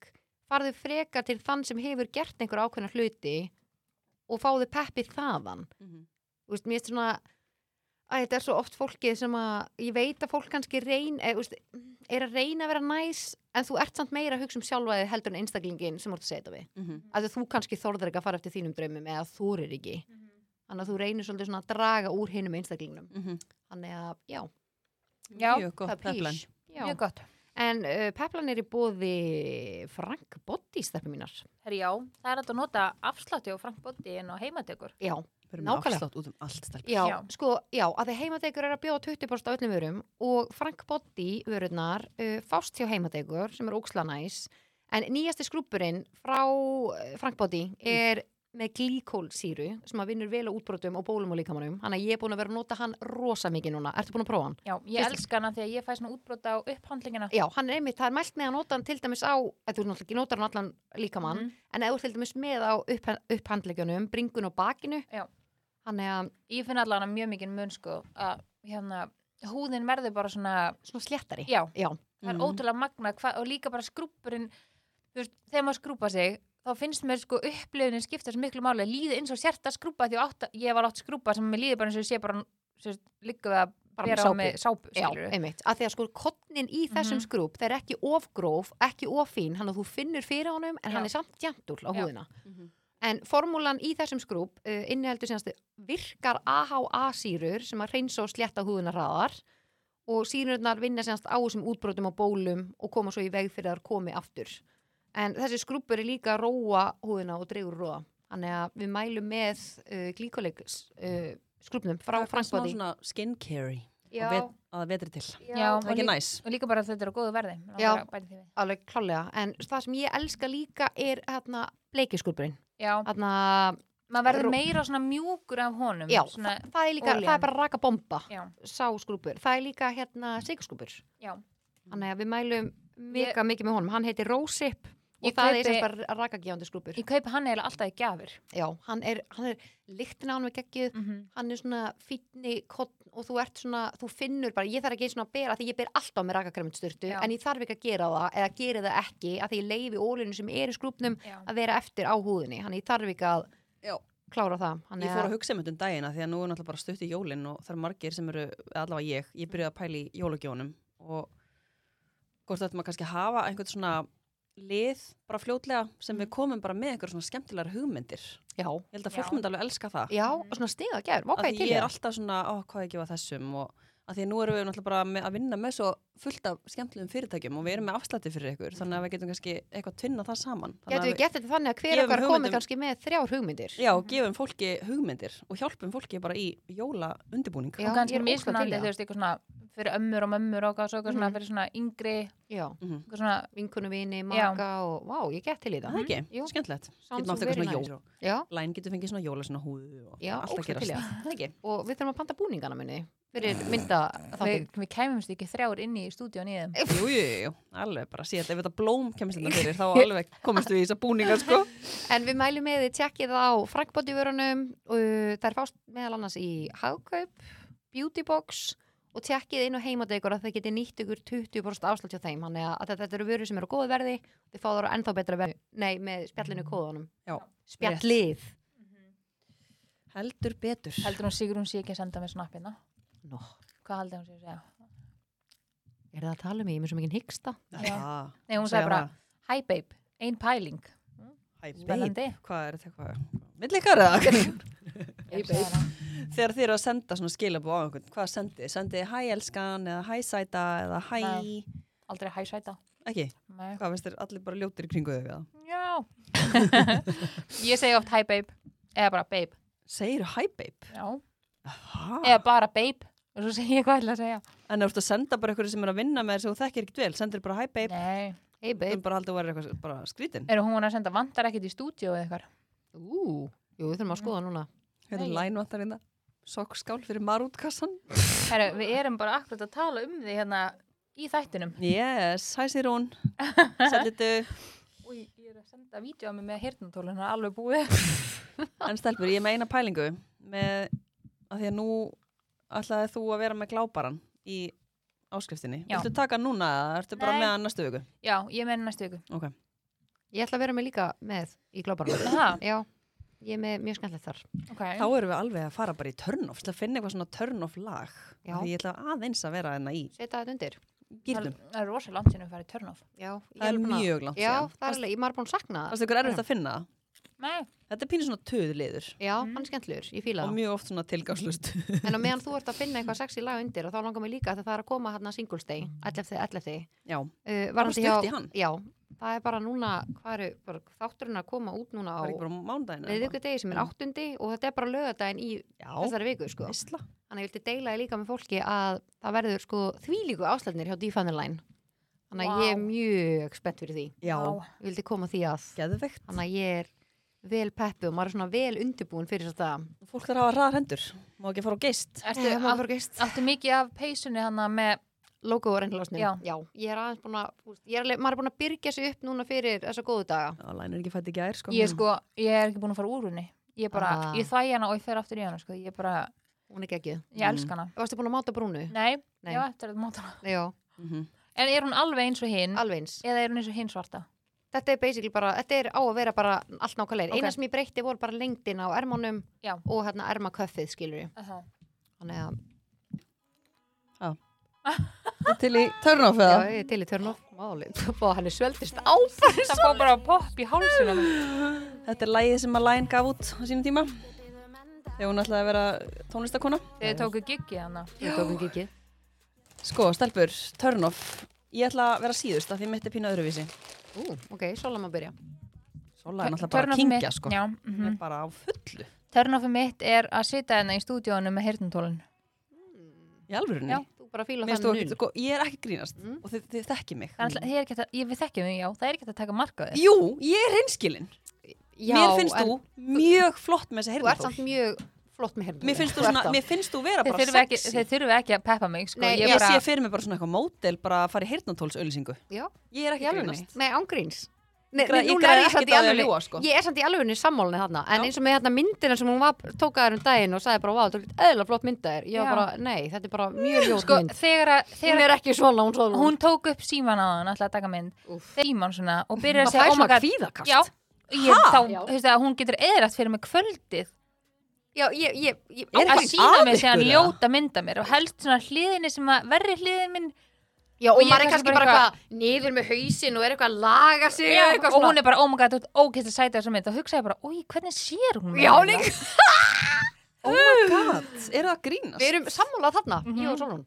E: farðu frekar til þann sem hefur gert einhver ákveðna hluti og fáðu peppi þaðan
D: Mhm.
E: þú veist, mér er svona að þetta er svo oft fólkið sem að ég veit að fólk kannski reyn eð, veist, er að reyna að vera næs en þú ert samt meira að hugsa um sjálfaði heldur en einstaklingin sem þú ert að segja þetta við
D: Mhm.
E: að þú kannski þorðar ekki að fara eftir þínum draumum eða þorir ekki
F: Mhm.
E: þannig að þú reynir svolítið svona að draga úr hinum einstaklingnum
D: Mhm.
E: þannig að já,
F: Já,
D: Mjög
E: það
D: gott
E: er
D: peplan
E: pís Já.
F: mjög gott
E: en uh, peplan er í bóði Frank Boddi steppi mínar
F: Herri, já, það er hægt að nota afslátti og frankbótti inn á heimatökur
E: já,
D: Fyrir með
E: Nákvæmlega.
D: afslátt út um allt stelpur
E: já,
F: Já.
E: sko, já, að þið heimadegur er að bjóða 20% á öllum vörum og Frank Boddi vörunar uh, fást hjá heimadegur sem er óksla næs En nýjasti skrúpurinn frá eh, Frankbody
F: Mm.
E: er með glíkólsýru sem að vinnur vel á útbrotum og bólum og líkamanum. Þannig að ég er búin að vera að nota hann rosa mikið núna. Ertu búin að prófa hann?
F: Já, ég elska hana því að ég fæ svona útbrota á upphandlingina.
E: Já, hann er einmitt, það er mælt með að nota hann til dæmis á, eða þú náttúrulega ekki notar hann allan líkamann,
F: Mhm.
E: en eða þú ert til dæmis með á upp, upphandlegjunum, bringun og bakinu,
F: Já.
E: hann er að-
F: Ég finn allan mjög mikið mun sko að hérna, húðin verður bara svona,
E: svona sléttari.
F: já,
E: Já.
F: það er
E: Mhm.
F: ótrúlega magna hva, og líka bara skrúpurinn, þú veist, þegar maður skrúpa sig, þá finnst mér sko upplifunin skipta sem miklu máli, líði eins og sérta skrúpa því átt, ég var átt skrúpa sem mér líði bara eins og ég sé bara, þú veist, líka við að
E: Bara með
F: vera
E: sápu.
F: á með sápu,
E: Já,
F: skilurðu.
E: einmitt, að því að sko kottnin í þessum
F: Mhm.
E: skrúp, það er ekki ofgróf, ekki offín, hann að þú finnur fyrir honum en hann
F: Já.
E: er samt jæmtul á
F: Já.
E: húðina. En formúlan í þessum skrúp uh, inniheldur sérst virkar AHA-sýrur sem að reynsa og slétta húðuna hraðar og sýrurnar vinna sérst á þessum útbrotum og bólum og koma svo í veg fyrir að þær komi aftur. En þessi skrúpur er líka að róa húðina og dreigur róa. Þannig að við mælum með uh, glíkoleik uh, skrúpnum frá
D: Það er smá
E: fransbóti.
D: svona skin carry
E: Já,
D: vet, að vetri til.
F: Já,
D: Það er ekki næs.
F: Og líka bara að þetta er á góðu verði. Mig
E: Já.
F: langar að bæta því við.
E: alveg klálega,
F: Mm.
E: en það sem ég elska líka er hérna bleikiskurburinn
F: Já,
E: hérna,
F: maður verður
E: Rú-
F: meira svona mjúkur af honum.
E: já,
F: svona,
E: það, það er líka,
F: olían.
E: það er bara raka bomba
F: já,
E: sáskrúpur, það er líka hérna sigurskrúpur,
F: já.
E: þannig að við mælum mega mikið með honum, hann heitir Rósip og
F: Ég
E: það
F: kaupi-
E: er sem bara raka gjándi skrúpur
F: Ég kaupi hann eiginlega alltaf í gjafir.
E: já, hann er, hann er lyktin á hann við geggjuð
F: Mm -hmm.
E: hann er svona fínni kottn og þú ert svona, þú finnur bara, ég þarf ekki einu svona að bera, af því ég ber alltaf með rakakremundstyrtu,
F: Já.
E: en ég þarf ekki að gera það eða gera það ekki, af því ég leifi ólinu sem er í skrúpnum
F: Já.
E: að vera eftir á húðinni, hann ég þarf ekki að
D: Já.
E: klára það, hann
D: Ég fór að
E: að,
D: hugsa um þetta um dagina því að nú er náttúrulega bara stutt í jólinn og það er margir sem eru, eða allavega ég, ég byrjaði að pæla í jólugjónum og hvort þetta maður kannski að hafa einhvern svona lið bara fljótlega sem við komum bara með einhver svona skemmtilegar hugmyndir.
E: já,
D: Ég held að
F: Já.
D: fólk myndi alveg elska það.
E: já, og svona stiga gær, ok,
D: að
E: til
D: því ég
E: ég
D: er alltaf svona, á, hvað ég gefa þessum og að því að nú erum við náttúrulega bara með, að vinna með svo fullt af skemmtilegum fyrirtækjum og við erum með afslætti fyrir ykkur, þannig að við getum kannski eitthvað tvinna það saman. Þannig að
E: getum við gert þetta þannig að hver
D: Gefum
E: okkar komi
D: hugmyndum-
E: kannski með þrjár hugmyndir,
D: Já, gefum fólki hugmyndir og hjálpum fólki bara í jóla undibúning.
E: Já,
F: og kannski
E: ég er ógeðslega til í
F: mismunandi,
E: það.
F: þú veist, eitthvað svona fyrir ömmur og mömmur og svo, eitthvað svona
E: Mhm.
F: fyrir svona yngri,
E: já,
F: eitthvað svona,
E: vinkunu vini,
F: Já.
E: maka og, vá, ég get til í
D: Það
E: það,
D: ekki,
E: Mhm, Jú.
D: skemmtilegt.
E: Sounds
D: Getum átt eitthvað
E: very
D: svona
E: nice.
D: jól.
E: já,
D: Læn getur fengið svona jóla svona húðu og
E: já,
D: allt að
E: ókslega til
D: gerast.
E: í það,
D: Það ekki.
E: og við þurfum að panta búningana minni, fyrir mynda
F: við, við kæmumst ekki þrjár inn í stúdíón í þeim.
D: Jú, jú, jú, alveg bara síðan, ef þetta blóm kemist þetta fyrir
E: *laughs*
D: þá alveg komist við í þessa búninga sko.
E: En við mælum með því tjekkið á frankbóttivörunum og það er fást meðal annars í Hagkaup, Beautybox og tjekkið inn á heimadegur að það geti nýtt ykkur 20% afslátt hjá þeim þannig að þetta, þetta eru vörur sem eru á góðu verði og þið fá þar á ennþá betra verði Nei, með spjallinu kóðunum
D: Já,
E: Spjallið
D: Heldur betur.
F: Heldur hún sigur hún sé ekki að senda mér snappina?
E: Nó,
F: Hvað heldur hún sé að segja?
E: er það að tala um mig? Ég er mér svo mikið hyggsta
D: Ah,
F: Nei, hún sagði
D: segja
F: bara, hi babe, ein pæling.
D: Hæ, babe,
F: Spennandi.
D: hvað er þetta eitthvað? Vill
F: *laughs*
D: ykkar eða?
F: Hey babe.
D: Þegar þið eru að senda svona skilabú á einhvern, hvað sendið? þið? Sendið þið hæ elskan eða hæ sæta eða hæ...
F: Nei. Aldrei hæ sæta.
D: Ekki,
F: Nei.
D: hvað veist þér, allir bara ljótir í kringu þau við það.
F: Já. *laughs* ég segi oft hi babe, eða bara babe.
D: Segir hæ babe?
F: Já.
D: Aha.
F: Eða bara babe, og svo segi ég hvað ég ætla að segja.
D: En þú ert að senda bara einhverju sem er að vinna með þér sem þú þekkir ekkert vel, sendir bara hæ babe,
F: Nei.
E: Hey
D: þú
E: babe
D: bara haldið að vera eitthvað bara skrítin.
F: Er hún að senda vantar ekkert í stúdíu eða eitthvað?
E: Ú, jú, við þurfum að skoða núna
D: Hérna
F: Nei.
D: lænvantar hérna, sokkskál fyrir marútkassan.
F: Herru, við erum bara akkurat að tala um því hérna í þættinum.
D: Yes, hæ
F: *laughs*
D: Sirún, sætlitu.
F: Új, ég er að senda vídeo á mig með hirtnatólinu alveg búið.
D: En stelpur, ég er með eina pælingu með að því að nú ætlaði þú að vera með glábaran í áskriftinni.
F: Já.
D: Viltu taka hann núna eða ertu bara
F: Nei.
D: með hann næstu viku?
F: *laughs* Já, ég meina næstu viku.
D: Ok.
E: Ég ætla að vera með líka með í glóbarum
F: Aha,
E: Já, ég er með mjög skemmtilegt þar
F: ok.
D: Þá erum við alveg að fara bara í turn-off, til að finna eitthvað svona turn-off lag.
E: Já.
D: Af Því ég ætla aðeins að vera hérna í
E: Seta þetta undir
F: Það
D: gýrnum.
F: það er rosa langt sinni að fara í turn off.
E: Já, ég
D: Það er
E: alveg búin að-
D: mjög langt
E: Já,
D: síðan.
E: það er alveg, ég maður er búin að sakna það
D: Það er ykkur erfitt að finna það.
F: Nei,
D: Þetta er pínu svona töðliður
E: Já, hann er skemmtlur, ég fíla
D: Mhm. og
E: það.
D: mjög oft svona tilgangslust.
F: *laughs*
E: En á
D: *laughs*
E: meðan þú ert að finna eitthvað sexy lag undir og þá langar mig líka að það er að koma hérna Singles Day, 11. 11.
D: Já,
E: Uh,
D: Það var stutt í Mhm. hann.
E: Já, það er bara núna, hvað eru, bara þátturinn að koma út núna á
D: það er ekki bara mándaginn.
E: meðvíkudegi sem er
D: Mm.
E: áttundi og þetta er bara lögadaginn í
D: Já,
E: þessari viku, sko.
D: veistla.
E: Þannig að ég vildi deila því líka með fólki að það verður sko þvílíku áslætnir hjá Deep Fun Line. Þannig að ég er mjög spennt fyrir því.
D: Já,
E: Ég vildi koma því að.
D: geðveikt.
E: Þannig að ég er vel peppu og maður er svona vel undirbúin fyrir þetta.
D: Fólk þarf að hafa hraðar hendur. Má ekki fara á geist.
F: Ertu, átt,
E: gist.
F: áttu mikið af peysunni hana með
E: Logo og reynlásnum.
F: Já.
E: Já, ég er aðeins búin að, þú veist, ég er alveg, maður er búin að byrja sig upp núna fyrir þessa góðu daga.
D: Já, læn er ekki fætt í gær, sko.
F: ég, sko, ég er ekki búin að fara úr henni ég, bara,
E: Ah.
F: ég þæ hana og ég fer aftur í hana sko. ég, bara,
E: Hún er geggjuð.
F: ég elska hana
E: Varstu búin að máta brúnu?
F: Nei,
E: Nei.
F: Mm. Nei. Já, eftir að móta hana
E: Já,
D: Mhm.
F: En er hún alveg eins og hinn?
E: alveg eins.
F: eða er hún eins og hinn svarta?
E: Þetta er basically bara, þetta er á að vera bara allt nákvæmlega.
F: Ok.
E: Okay. Eina sem ég breytti voru bara lengdin á ermónum
F: Já.
E: og hérna ermaköffið, skilur ég.
F: Uh -huh.
E: Þannig að,
D: Til í törnof
E: já,
D: eða?
E: ég er til í törn of málið. Og hann er sveldist áfæri.
F: Það fá bara popp í hálsuna
D: Þetta er lægið sem að Læn gaf út á sínum tíma. Þegar hún ætlaði að vera tónlistakona.
F: Þeir tóku giggi hana
E: Ég tók um ekki ekki.
D: Sko, stelpur, törnof. Ég ætla að vera síðust af því mitt er pínu öðruvísi.
E: Ú, ok, svo láma að byrja.
D: Sola er náttúrulega bara að kingja, sko.
F: Já,
D: Hún er
F: mhm.
D: bara á fullu.
F: Törnofið mitt er að sitja hérna í stúdíónu með heyrnutólin
D: Í alvörunni.
F: Já.
E: Þú bara fíla
D: Mér
E: það
D: stóð
E: nun.
D: ekki, sko, ég er ekki að grínast
E: Mm.
D: og þið, þið þekki mig. Mm.
F: Það er alltaf, þið er ekki að, ég við þekkjum þig, já, það er ekki að taka marka þér
D: Jú, ég er hinskilin.
E: Já,
D: mér finnst
E: en
D: þú mjög flott með þessa
E: Þú ert samt
D: heyrðartól.
E: mjög flott með heyrnum.
D: Mér finnst þú svona, mér finnst þú vera
F: Þeir
D: bara
F: þurfum ekki,
D: sexy.
F: þeir þurfum ekki að peppa mig, sko
E: Nei,
F: ég
D: ég
F: bara,
D: sé fyrir mig bara svona eitthvað mótel bara að fara í heyrnatólsauðlýsingu.
E: Já,
D: Ég er
E: í
D: ekki að
E: alveg.
D: grínast.
E: Nei, ángríns. Nei,
D: Ég gra-
E: nei,
D: ég
E: núna
D: græði
E: er ég
D: ekkert
E: samt í
D: á því að
E: alvöru-
D: ljúga, sko.
E: Ég er samt í alvöru sammálni þarna En
D: Já.
E: eins og með hérna myndina sem hún var, tók að þér um daginn og sagði bara, vá, þetta er eðla flott mynda þér Ég var
F: Já.
E: bara, nei, þetta er bara mjög ljót
F: sko,
E: mynd
F: þegar að
E: Hún
F: þegar
E: er ekki svona, hún svona
F: hún tók upp síman á hann, alltaf að taka mynd
E: Úff.
F: síman svona, og byrjar
E: Maður
F: að segja,
E: fær
F: oh my
E: svona
F: god
E: kvíðakast.
F: Já, ég, þá,
E: Já.
F: þú veist að hún getur eðrætt fyrir mig kvöldið
E: Já, ég, ég, ég
D: Er
F: að
D: eitthvað
F: sína
D: að
F: mig síðan
D: ykkur, eða?
F: ljóta mynda mér og helst svona hliðinni sem að verri hliðin minn
E: Já, og
F: Og ég
E: maður er
F: er
E: kannski
F: kannski
E: bara
F: bara
E: eitthvað niður með hausin og er eitthvað að laga sig
F: Já, og
E: eitthvað svona.
F: hún er bara, oh my god, þú ert ókvæmst að sæta þessu mynd og hugsa ég bara, oi, hvernig sér hún
E: Já,
F: það?"
E: líka.
D: Oh my god, er það að grínast?
E: Við erum sammálað þarna, ég og Solon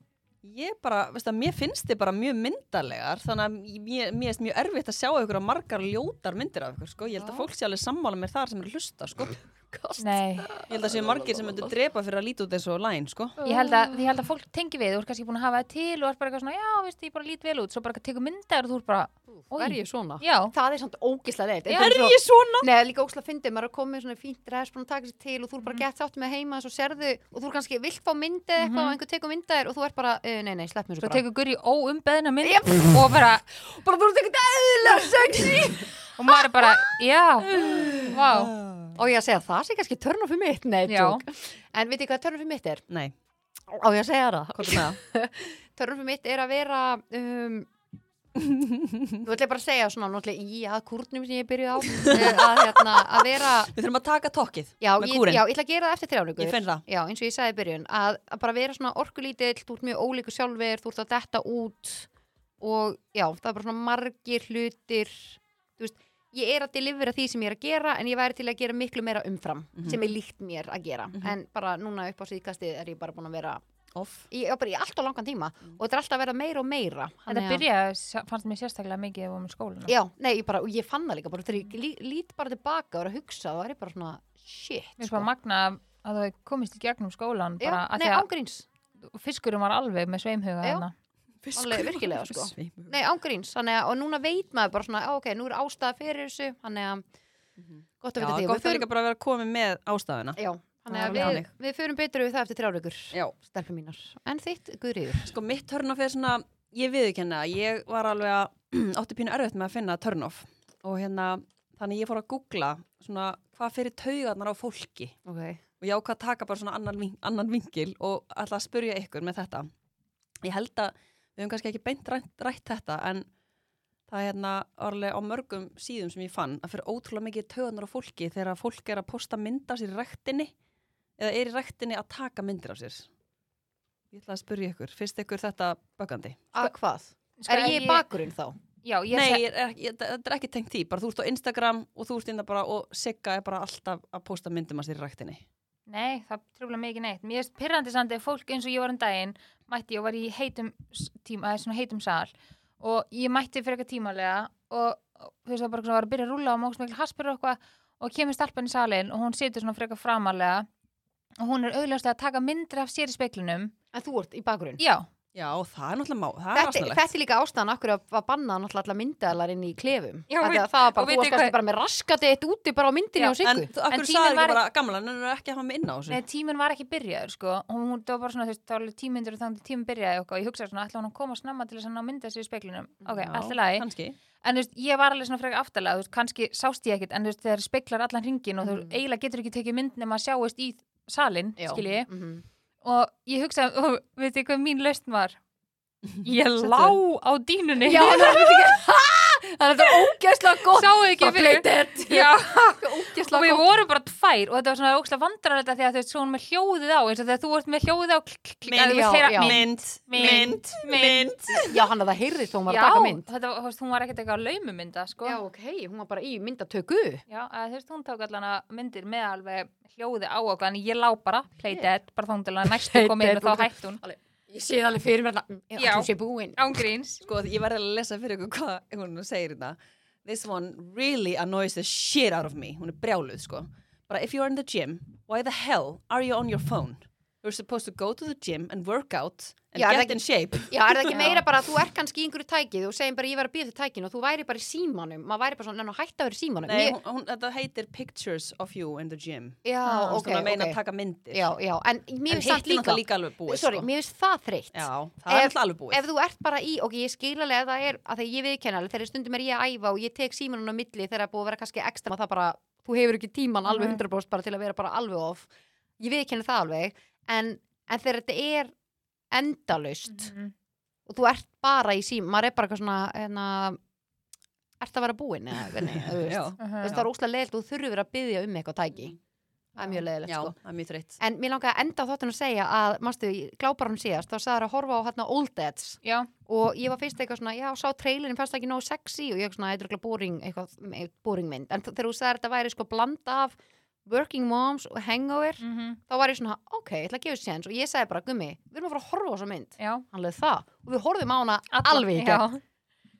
D: Ég bara, veist það, mér finnst þið bara mjög myndarlegar þannig að mér, mér er mjög erfitt að sjá ykkur að margar ljótar myndir af ykkur, sko. Ég held að fólk sé alveg sammála mér þar sem er að hlusta, sko.
F: Nei,
D: Ég held að séu margir sem myndu drepa fyrir að líti út eins og læn, sko.
F: ég held að, ég held að fólk tengi við, þú ert kannski búin að hafa það til og ert bara eitthvað svona, já, veist, ég bara lít vel út svo bara tekur myndaður og þú ert bara,
E: Er ég svona?
F: já,
E: Það er samt ógislega leitt
F: Já.
E: Er
D: Ég svona!
E: Nei, það er líka ósla fyndið, maður er að koma með svona fínt dress, búin að taka sér til og þú er bara gett þátt með heima og svo serðu og þú er kannski vilt fá myndið eitthvað og einhver tekur myndið þér og þú er bara, uh, nei, nei, slepp mér Mhm. svo
F: svo
E: bara.
F: tekur Guri óumbeðna mynd og bara,
E: *laughs* bara þú ert eitthvað eðlilega sexy. *laughs*
F: og maður er bara,
E: *gasps*
F: já, vá,
E: og ég að segja, það sé kannski törn of mitt, nei,
F: Já.
E: tjók. En veit ég hvað törn of mitt er?
D: Nei,
E: Á ég að segja það?
D: hvað er með það?
E: Törn of mitt er að vera, *laughs* um, þú ætla ég bara að segja svona, náttúrulega í að kúrnum sem ég byrjuð á, eh, að, hérna, að vera
D: Við þurfum að taka tokkið
E: Já,
D: með
E: ég,
D: kúrinn.
E: já, ég ætla að gera það eftir þrjánugur.
D: Ég finn það.
E: Já, eins og ég sagði í byrjun, að, að bara vera svona orkulítill, þú ert mjög ólíku sjálfur, þú ert að detta út og já, það er bara svona margir hlutir, þú veist, ég er að delivera því sem ég er að gera en ég væri til að gera miklu meira umfram sem er líkt mér að gera. En bara núna upp á síðkastið er ég bara búin að vera,
D: Off.
E: ég er bara í allt og langan tíma og þetta er alltaf að vera meira og meira.
F: þetta
E: Þannig að-
F: byrjaði, fannst mér sérstaklega mikið ef við varum í skólan
E: Já, nei, ég bara, og ég fann það líka bara, þegar ég lí- lít bara tilbaka og er að hugsa, þá er ég bara svona, shit,
F: Mér sko magna að það komist í gegnum skólan bara
E: Já,
F: að
E: nei,
F: því að
E: ángríns.
F: fiskurum var alveg með sveimhuga
E: Já.
F: þarna.
E: Alveg, virkilega, sko.
D: Sveimur.
E: Nei, ángríns, þannig að, og núna veit maður bara svona, á, ok, nú er ástæða fyrir þessu, þannig að, gott
D: Já,
E: að vita því.
D: gott
E: Við
D: að líka bara vera komið með ástæðuna.
E: Já,
D: Það
E: þannig
D: er
E: að
D: alveg
E: við,
D: þannig.
E: við förum betur við það eftir þrjáleikur,
D: Já.
E: stelpum mínar. En þitt, Guðriður.
D: Sko mitt törnof er svona, ég viðurkenna, ég var alveg að *clears throat* átti pínu erfitt með að finna törnof og hérna, þannig ég fór að googla svona hvað fyrir taugarnar á fólki
E: Ok.
D: og ég ákvað að taka bara svona annan, vink, annan vingil og ætla að spurja ykkur með þetta. Ég held að við höfum kannski ekki beint rætt, rætt þetta en það er hérna orðlega á mörgum síðum sem ég fann að fyrir ótrúlega mikið taugarnar á fólki þegar fólk er að posta mynda sér í rektinni eða er í rektinni að taka myndir af sér. Ég ætla að spurja ykkur, finnst ykkur þetta böggandi?
E: Að hvað?
F: Sko,
E: er ég í bakurinn þá?
F: Já, ég
D: Nei,
F: seg-
D: ég er, ég, þetta er ekki tengt því, bara þú ert á Instagram og þú ert inn að bara, og Sigga er bara alltaf að posta myndum að sér í ræktinni.
F: Nei, það trúlega mikið neitt. Mér er pyrrandi samt að fólk eins og ég var um daginn mætti og var í heitum s- tíma, eða svona heitum sal og ég mætti fyrir eitthvað tímalega og og þú veist það bara svona var að byrja að rúlla og móks mikil haspur og eitthvað og kemur stelpan í salin og hún situr svona fyrir eitthvað framalega og hún er auðvitað að taka myndir af sér í speklinum.
E: En þú ert í bakurinn?
F: Já,
D: Já, það er náttúrulega má, það er
E: Þetta,
D: asnalegt.
E: þetta er líka ástæðan okkur að var bannað náttúrulega allar myndaðalar inn í klefum
F: Já,
E: Af því
F: veit-
E: að það var
F: og
E: bara, þú
F: vitið
E: varst kannski
F: hvað-
E: bara með raskatið eitt úti bara á myndinni
F: Já,
E: á siggu
D: En þú- af
F: En
D: hverju
F: tíminn
D: sagði
F: var
D: ekki bara gamla, en er ekki að hafa mig inn á þessu?
F: Nei, tíminn var ekki byrjaður, sko. Hún, hún það var bara svona, þú veist, þá var alveg tímyndur og þannig til tíminn byrjaði og eitthvað. Ég hugsaði svona, ætla hún að koma snemma til þess að ná mynda sér í speiklinum. Ok,
D: Já,
F: allt í lagi.
D: Kannski.
F: En þú veist, ég var alveg svona frekar aftalega, þú veist, kannski sást ég ekkit, en þú veist, þegar speiklar allan ringin og þú
E: Mm.
F: eiginlega getur ekki tekið mynd nema að sjáist í salin, skilji.
E: mm -hmm.
F: Og ég hugsaði, og veit ég hvað mín lausn
E: *laughs*
F: var? Ég
D: Settu.
F: lá á dýnunni. *laughs*
E: Já, það er ekki Það er þetta ógeðslega gott
F: Sáðu ekki
E: Bara play dead
F: Já, og
E: *laughs* Ógeðslega
F: við
E: gott
F: vorum bara tvær og þetta var svona ógslag vandrarlega því að þú veist svona með hljóðið á eins og þegar þú ert með hljóðið á klik, klik, klik,
E: Mynd,
F: að þú
E: já,
F: veist, heyra
E: já.
F: mynd,
D: Mynd,
F: mynd,
D: mynd,
F: mynd.
D: mynd.
E: Já, hann að það heyrðist þegar hún var
F: Já,
E: að taka mynd
F: þetta var, þú veist, hún var ekkert eitthvað laumumynda sko.
E: Já, ok, hún var bara í myndatöku
F: Já, að, þú veist, hún tók allan að myndir með alveg hljóðið á okkur en ég lá bara, play dead, bara þá hún til að næstu
E: Play
F: kom inn
E: dead,
F: og
E: ok.
F: þá hætti hún
E: Ég sé það alveg fyrir mér þarna
F: Já.
E: Já, þú sé búinn
F: ángríns
D: Sko, ég verði að lesa fyrir ykkur hvað hún segir þetta. This one really annoys the shit out of me. Hún er brjáluð, sko. Bara, if you're in the gym, why the hell are you on your phone? You're supposed to go to the gym and work out and
E: Já, er það
D: get
E: ekki-
D: in shape.
E: Já, er það ekki meira bara að þú er kannski í einhverju tækið og segir bara ég var að býða þér tækinu og þú væri bara í símanum maður væri bara svona, "Nenna, hættu að vera í símanum
D: Nei,
E: Ég-
D: hún, hún, þetta heitir Pictures of you in the gym.
E: Já,
D: Hún
E: ok,
D: svona meina að
E: ok
D: taka myndir.
E: Já, já, en mér
D: En
E: finnst samt
D: hittir
E: líka
D: náttúrulega líka alveg búið,
E: Sorry,
D: sko.
E: mér finnst það þreytt
D: Já, það er
E: Ef-
D: alltaf alveg búið.
E: Ef þú ert bara í, ok, ég skil alveg að það er að þegar ég viðkenna alveg, þegar stundum er ég að æfa og ég tek símanun á milli þegar það er búið að vera kannski ekstra og það bara, þú hefur ekki tíman
D: Mhm.
E: alveg 100% bara til að vera bara alveg off ég viðkenna það alveg, en, en þegar þetta er endalaust
D: Mhm.
E: og þú ert bara í sím maður er bara eitthvað svona hérna, ert að vera búinn eða hvernig,
D: *laughs*
E: þú veist.
D: Já,
F: Mhm.
E: Þú veist, það er óslega leiðilegt og þú þurfur að byggja um eitthvað tæki það er mjög leiðilegt
D: já,
E: sko
D: það er mjög þreytt.
E: En mér langaði að enda á þáttunum að segja að, mástu, glápar hún síðast, þá sagði það að horfa á hérna Old Dads
F: Já,
E: og ég var fyrst eitthvað svona, já, sá trailerin fannst það ekki nógu sexy og ég var svona, þetta er eitthvað boring, eitthvað, eh, boring mynd. En þegar þú sagði þetta væri sko bland af Working Moms og Hangover,
F: mhm,
E: þá var ég svona, ok, ég ætla að gefa þessu séns og ég sagði bara, gummi, við erum að fara að horfa á þessa mynd.
F: já
E: Hann leði það og við horfum á hana
F: Alla-
E: alveg ekki.
F: já.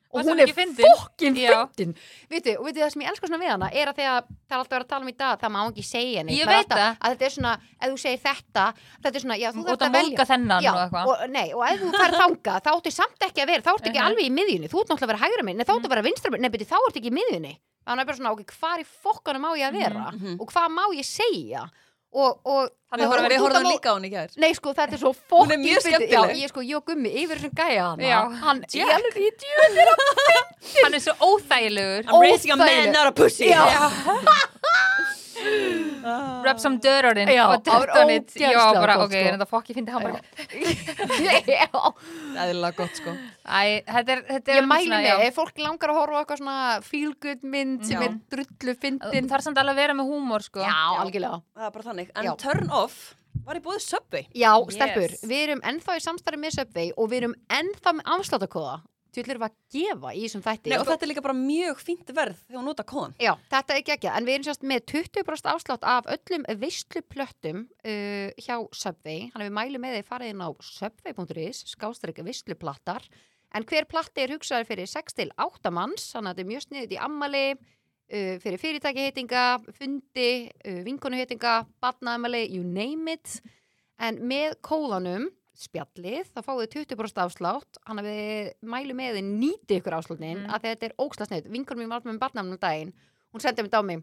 E: Og
F: Varstu
E: hún er
F: ekki fyndin?
E: fokkin
F: Já.
E: fyndin. Veitu, og veitu það sem ég elskar svona við hana er að þegar það er alltaf að vera að tala um í dag, það má ekki segja neitt.
F: Ég
E: Maður er
F: veit
E: alltaf-
F: það.
E: Að þetta er svona, ef þú segir þetta, þetta er svona, já, þú
F: Og
E: þarft
F: það
E: að velja.
F: mólga þennan
E: Já,
F: og eitthvað
E: og, nei, og ef þú færð þangað þá áttu samt ekki að vera, þá ert ekki
F: Mhm.
E: alveg í miðjunni þú ert náttúrulega að vera hægra minn, nei þá áttu að vera vinstra minn nei beti þá ert ekki í miðjunni þannig er bara svona, ok, hvar í fokkanum má ég að vera
D: Mhm.
E: og hvað má ég segja og, og
D: Við
F: Þannig að
D: horfum,
F: horfum-
D: við horfum
E: á-
D: líka á hún í gær.
E: nei sko, þetta er svo
D: Hún er
E: fokkin
D: mjög
E: fyndið.
D: skemmtileg.
E: já, ég sko, ég og gummi yfir þessum gæja hana
F: Já.
E: hann, ég
F: Jack.
E: alveg í djúðir
F: Hann er svo óþægilegur
D: I'm raising a man,
E: óþægileg.
D: not a pussy.
E: Já.
D: *laughs*
F: Rub some dirt on it
E: Já,
F: og
E: það var
F: dirt on it Já,
E: ógeðslega
F: bara,
E: gott,
F: ok,
E: sko.
F: en það fokk ég fyndi hann bara *laughs*
D: Æðilega gott, sko.
F: Æ, þetta er, þetta er
E: ég
F: alveg
E: mæli
F: svona,
E: mig,
F: já.
E: ef fólk langar að horfa á eitthvað svona feel good mynd sem
F: Já.
E: er drullu fyndin
F: Það er samt alveg að vera með húmor sko
E: já, algjörlega
D: Það er bara þannig. En
E: Já.
D: turn off var í búið Subway.
E: Já,
F: Yes.
E: stelpur, við erum ennþá í samstarfi með Subway og við erum ennþá með afsláttakóða. Þú ætlum að gefa í þessum þætti.
D: Nei, og þetta er líka bara mjög fínt verð þegar hún nota kóðan.
E: Já, þetta er geggjað, en við erum sérst með 20% afslátt af öllum veistluplöttum uh, hjá Subway. Þannig að við mælum með þið farið inn á subway.is, skástrík veistluplattar. En hver platti er hugsaður fyrir 6 til 8 manns, þannig að þetta er mjög sniðið í ammali, uh, fyrir fyrirtækiheitinga, fundi, uh, vinkonuheitinga, barnaðamali, you name it. En með kóðanum, spjallið, þá fáið þið 20% afslátt hann að við mælum með þið nýti ykkur afslátnin
F: Mm.
E: af því að þetta er óksla snið vinkunum mín var alltaf með barnamnum um daginn hún sendi mér dámi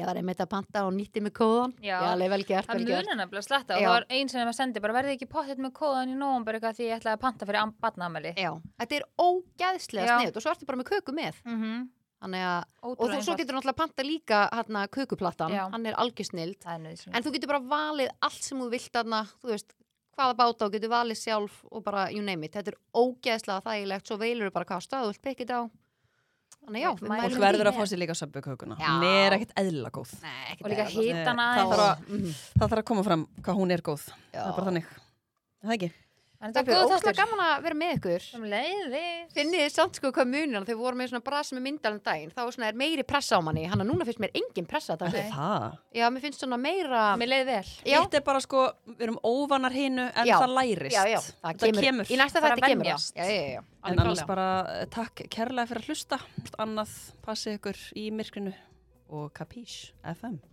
E: ég var einmitt að panta og nýtti mig kóðan
F: Já.
E: já alveg vel gert,
F: Það
E: vel gert.
F: munir nefnilega sletta og
E: Já.
F: það var einn sem að sendi bara verði ekki pottet með kóðan í nóvambur eitthvað því ég ætlaði að panta fyrir batnaðamæli
E: Já, þetta er ógæðslega
F: Já.
E: snið og svo ertu bara með köku með
F: mm -hmm.
E: Þannig að, og þú svo getur náttúrulega panta líka hérna, kökuplattan,
F: Já.
E: hann er algjörsnild
F: Það er nöðsum
E: en þú getur bara valið allt sem þú vilt þarna, þú veist, hvaða báta og getur valið sjálf og bara, you name it, þetta er ógeðslega þægilegt, svo veilur þú bara hvað stöð þú vilt pekið á þannig já,
F: Fólk verður
E: við mælum
D: Fólk
E: því
D: verður að
E: með.
D: fá sér líka Subway kökuna.
E: Já.
D: Hún er ekkit eðlilega góð.
E: Nei, ekkert
F: Og líka
E: eðlilega.
F: hýtana
D: Það
E: Þá-
D: þarf að-
E: Mhm.
D: Það þarf að koma fram hvað hún er góð.
E: Já.
D: Það er bara þannig. Er Það ekki?
F: Það
E: Það
F: er
E: er
F: góð
E: óslega
F: þáttur
E: gaman að vera með ykkur
F: Sem leiðis
E: Finnið þið samt sko hvað munir þegar við vorum með svona brasa með myndalum daginn þá er svona er meiri pressa á manni, hann að núna finnst mér engin pressa
D: Það
E: þetta
D: það.
E: Já, mér finnst svona meira
F: Mér leið vel
E: Já.
D: Þetta er bara sko, við erum óvanar hinu en
E: Já.
D: það lærist.
E: já, já, það
D: Þetta
E: kemur, í næsta
F: Bara
E: þætti kemur
F: venjast.
E: það. Já, já, já, já.
D: En
E: Alveg
D: annars
E: klárlega.
D: bara eh, takk kærlega fyrir að hlusta. Annað passið ykkur í myrkrinu og kapís FM.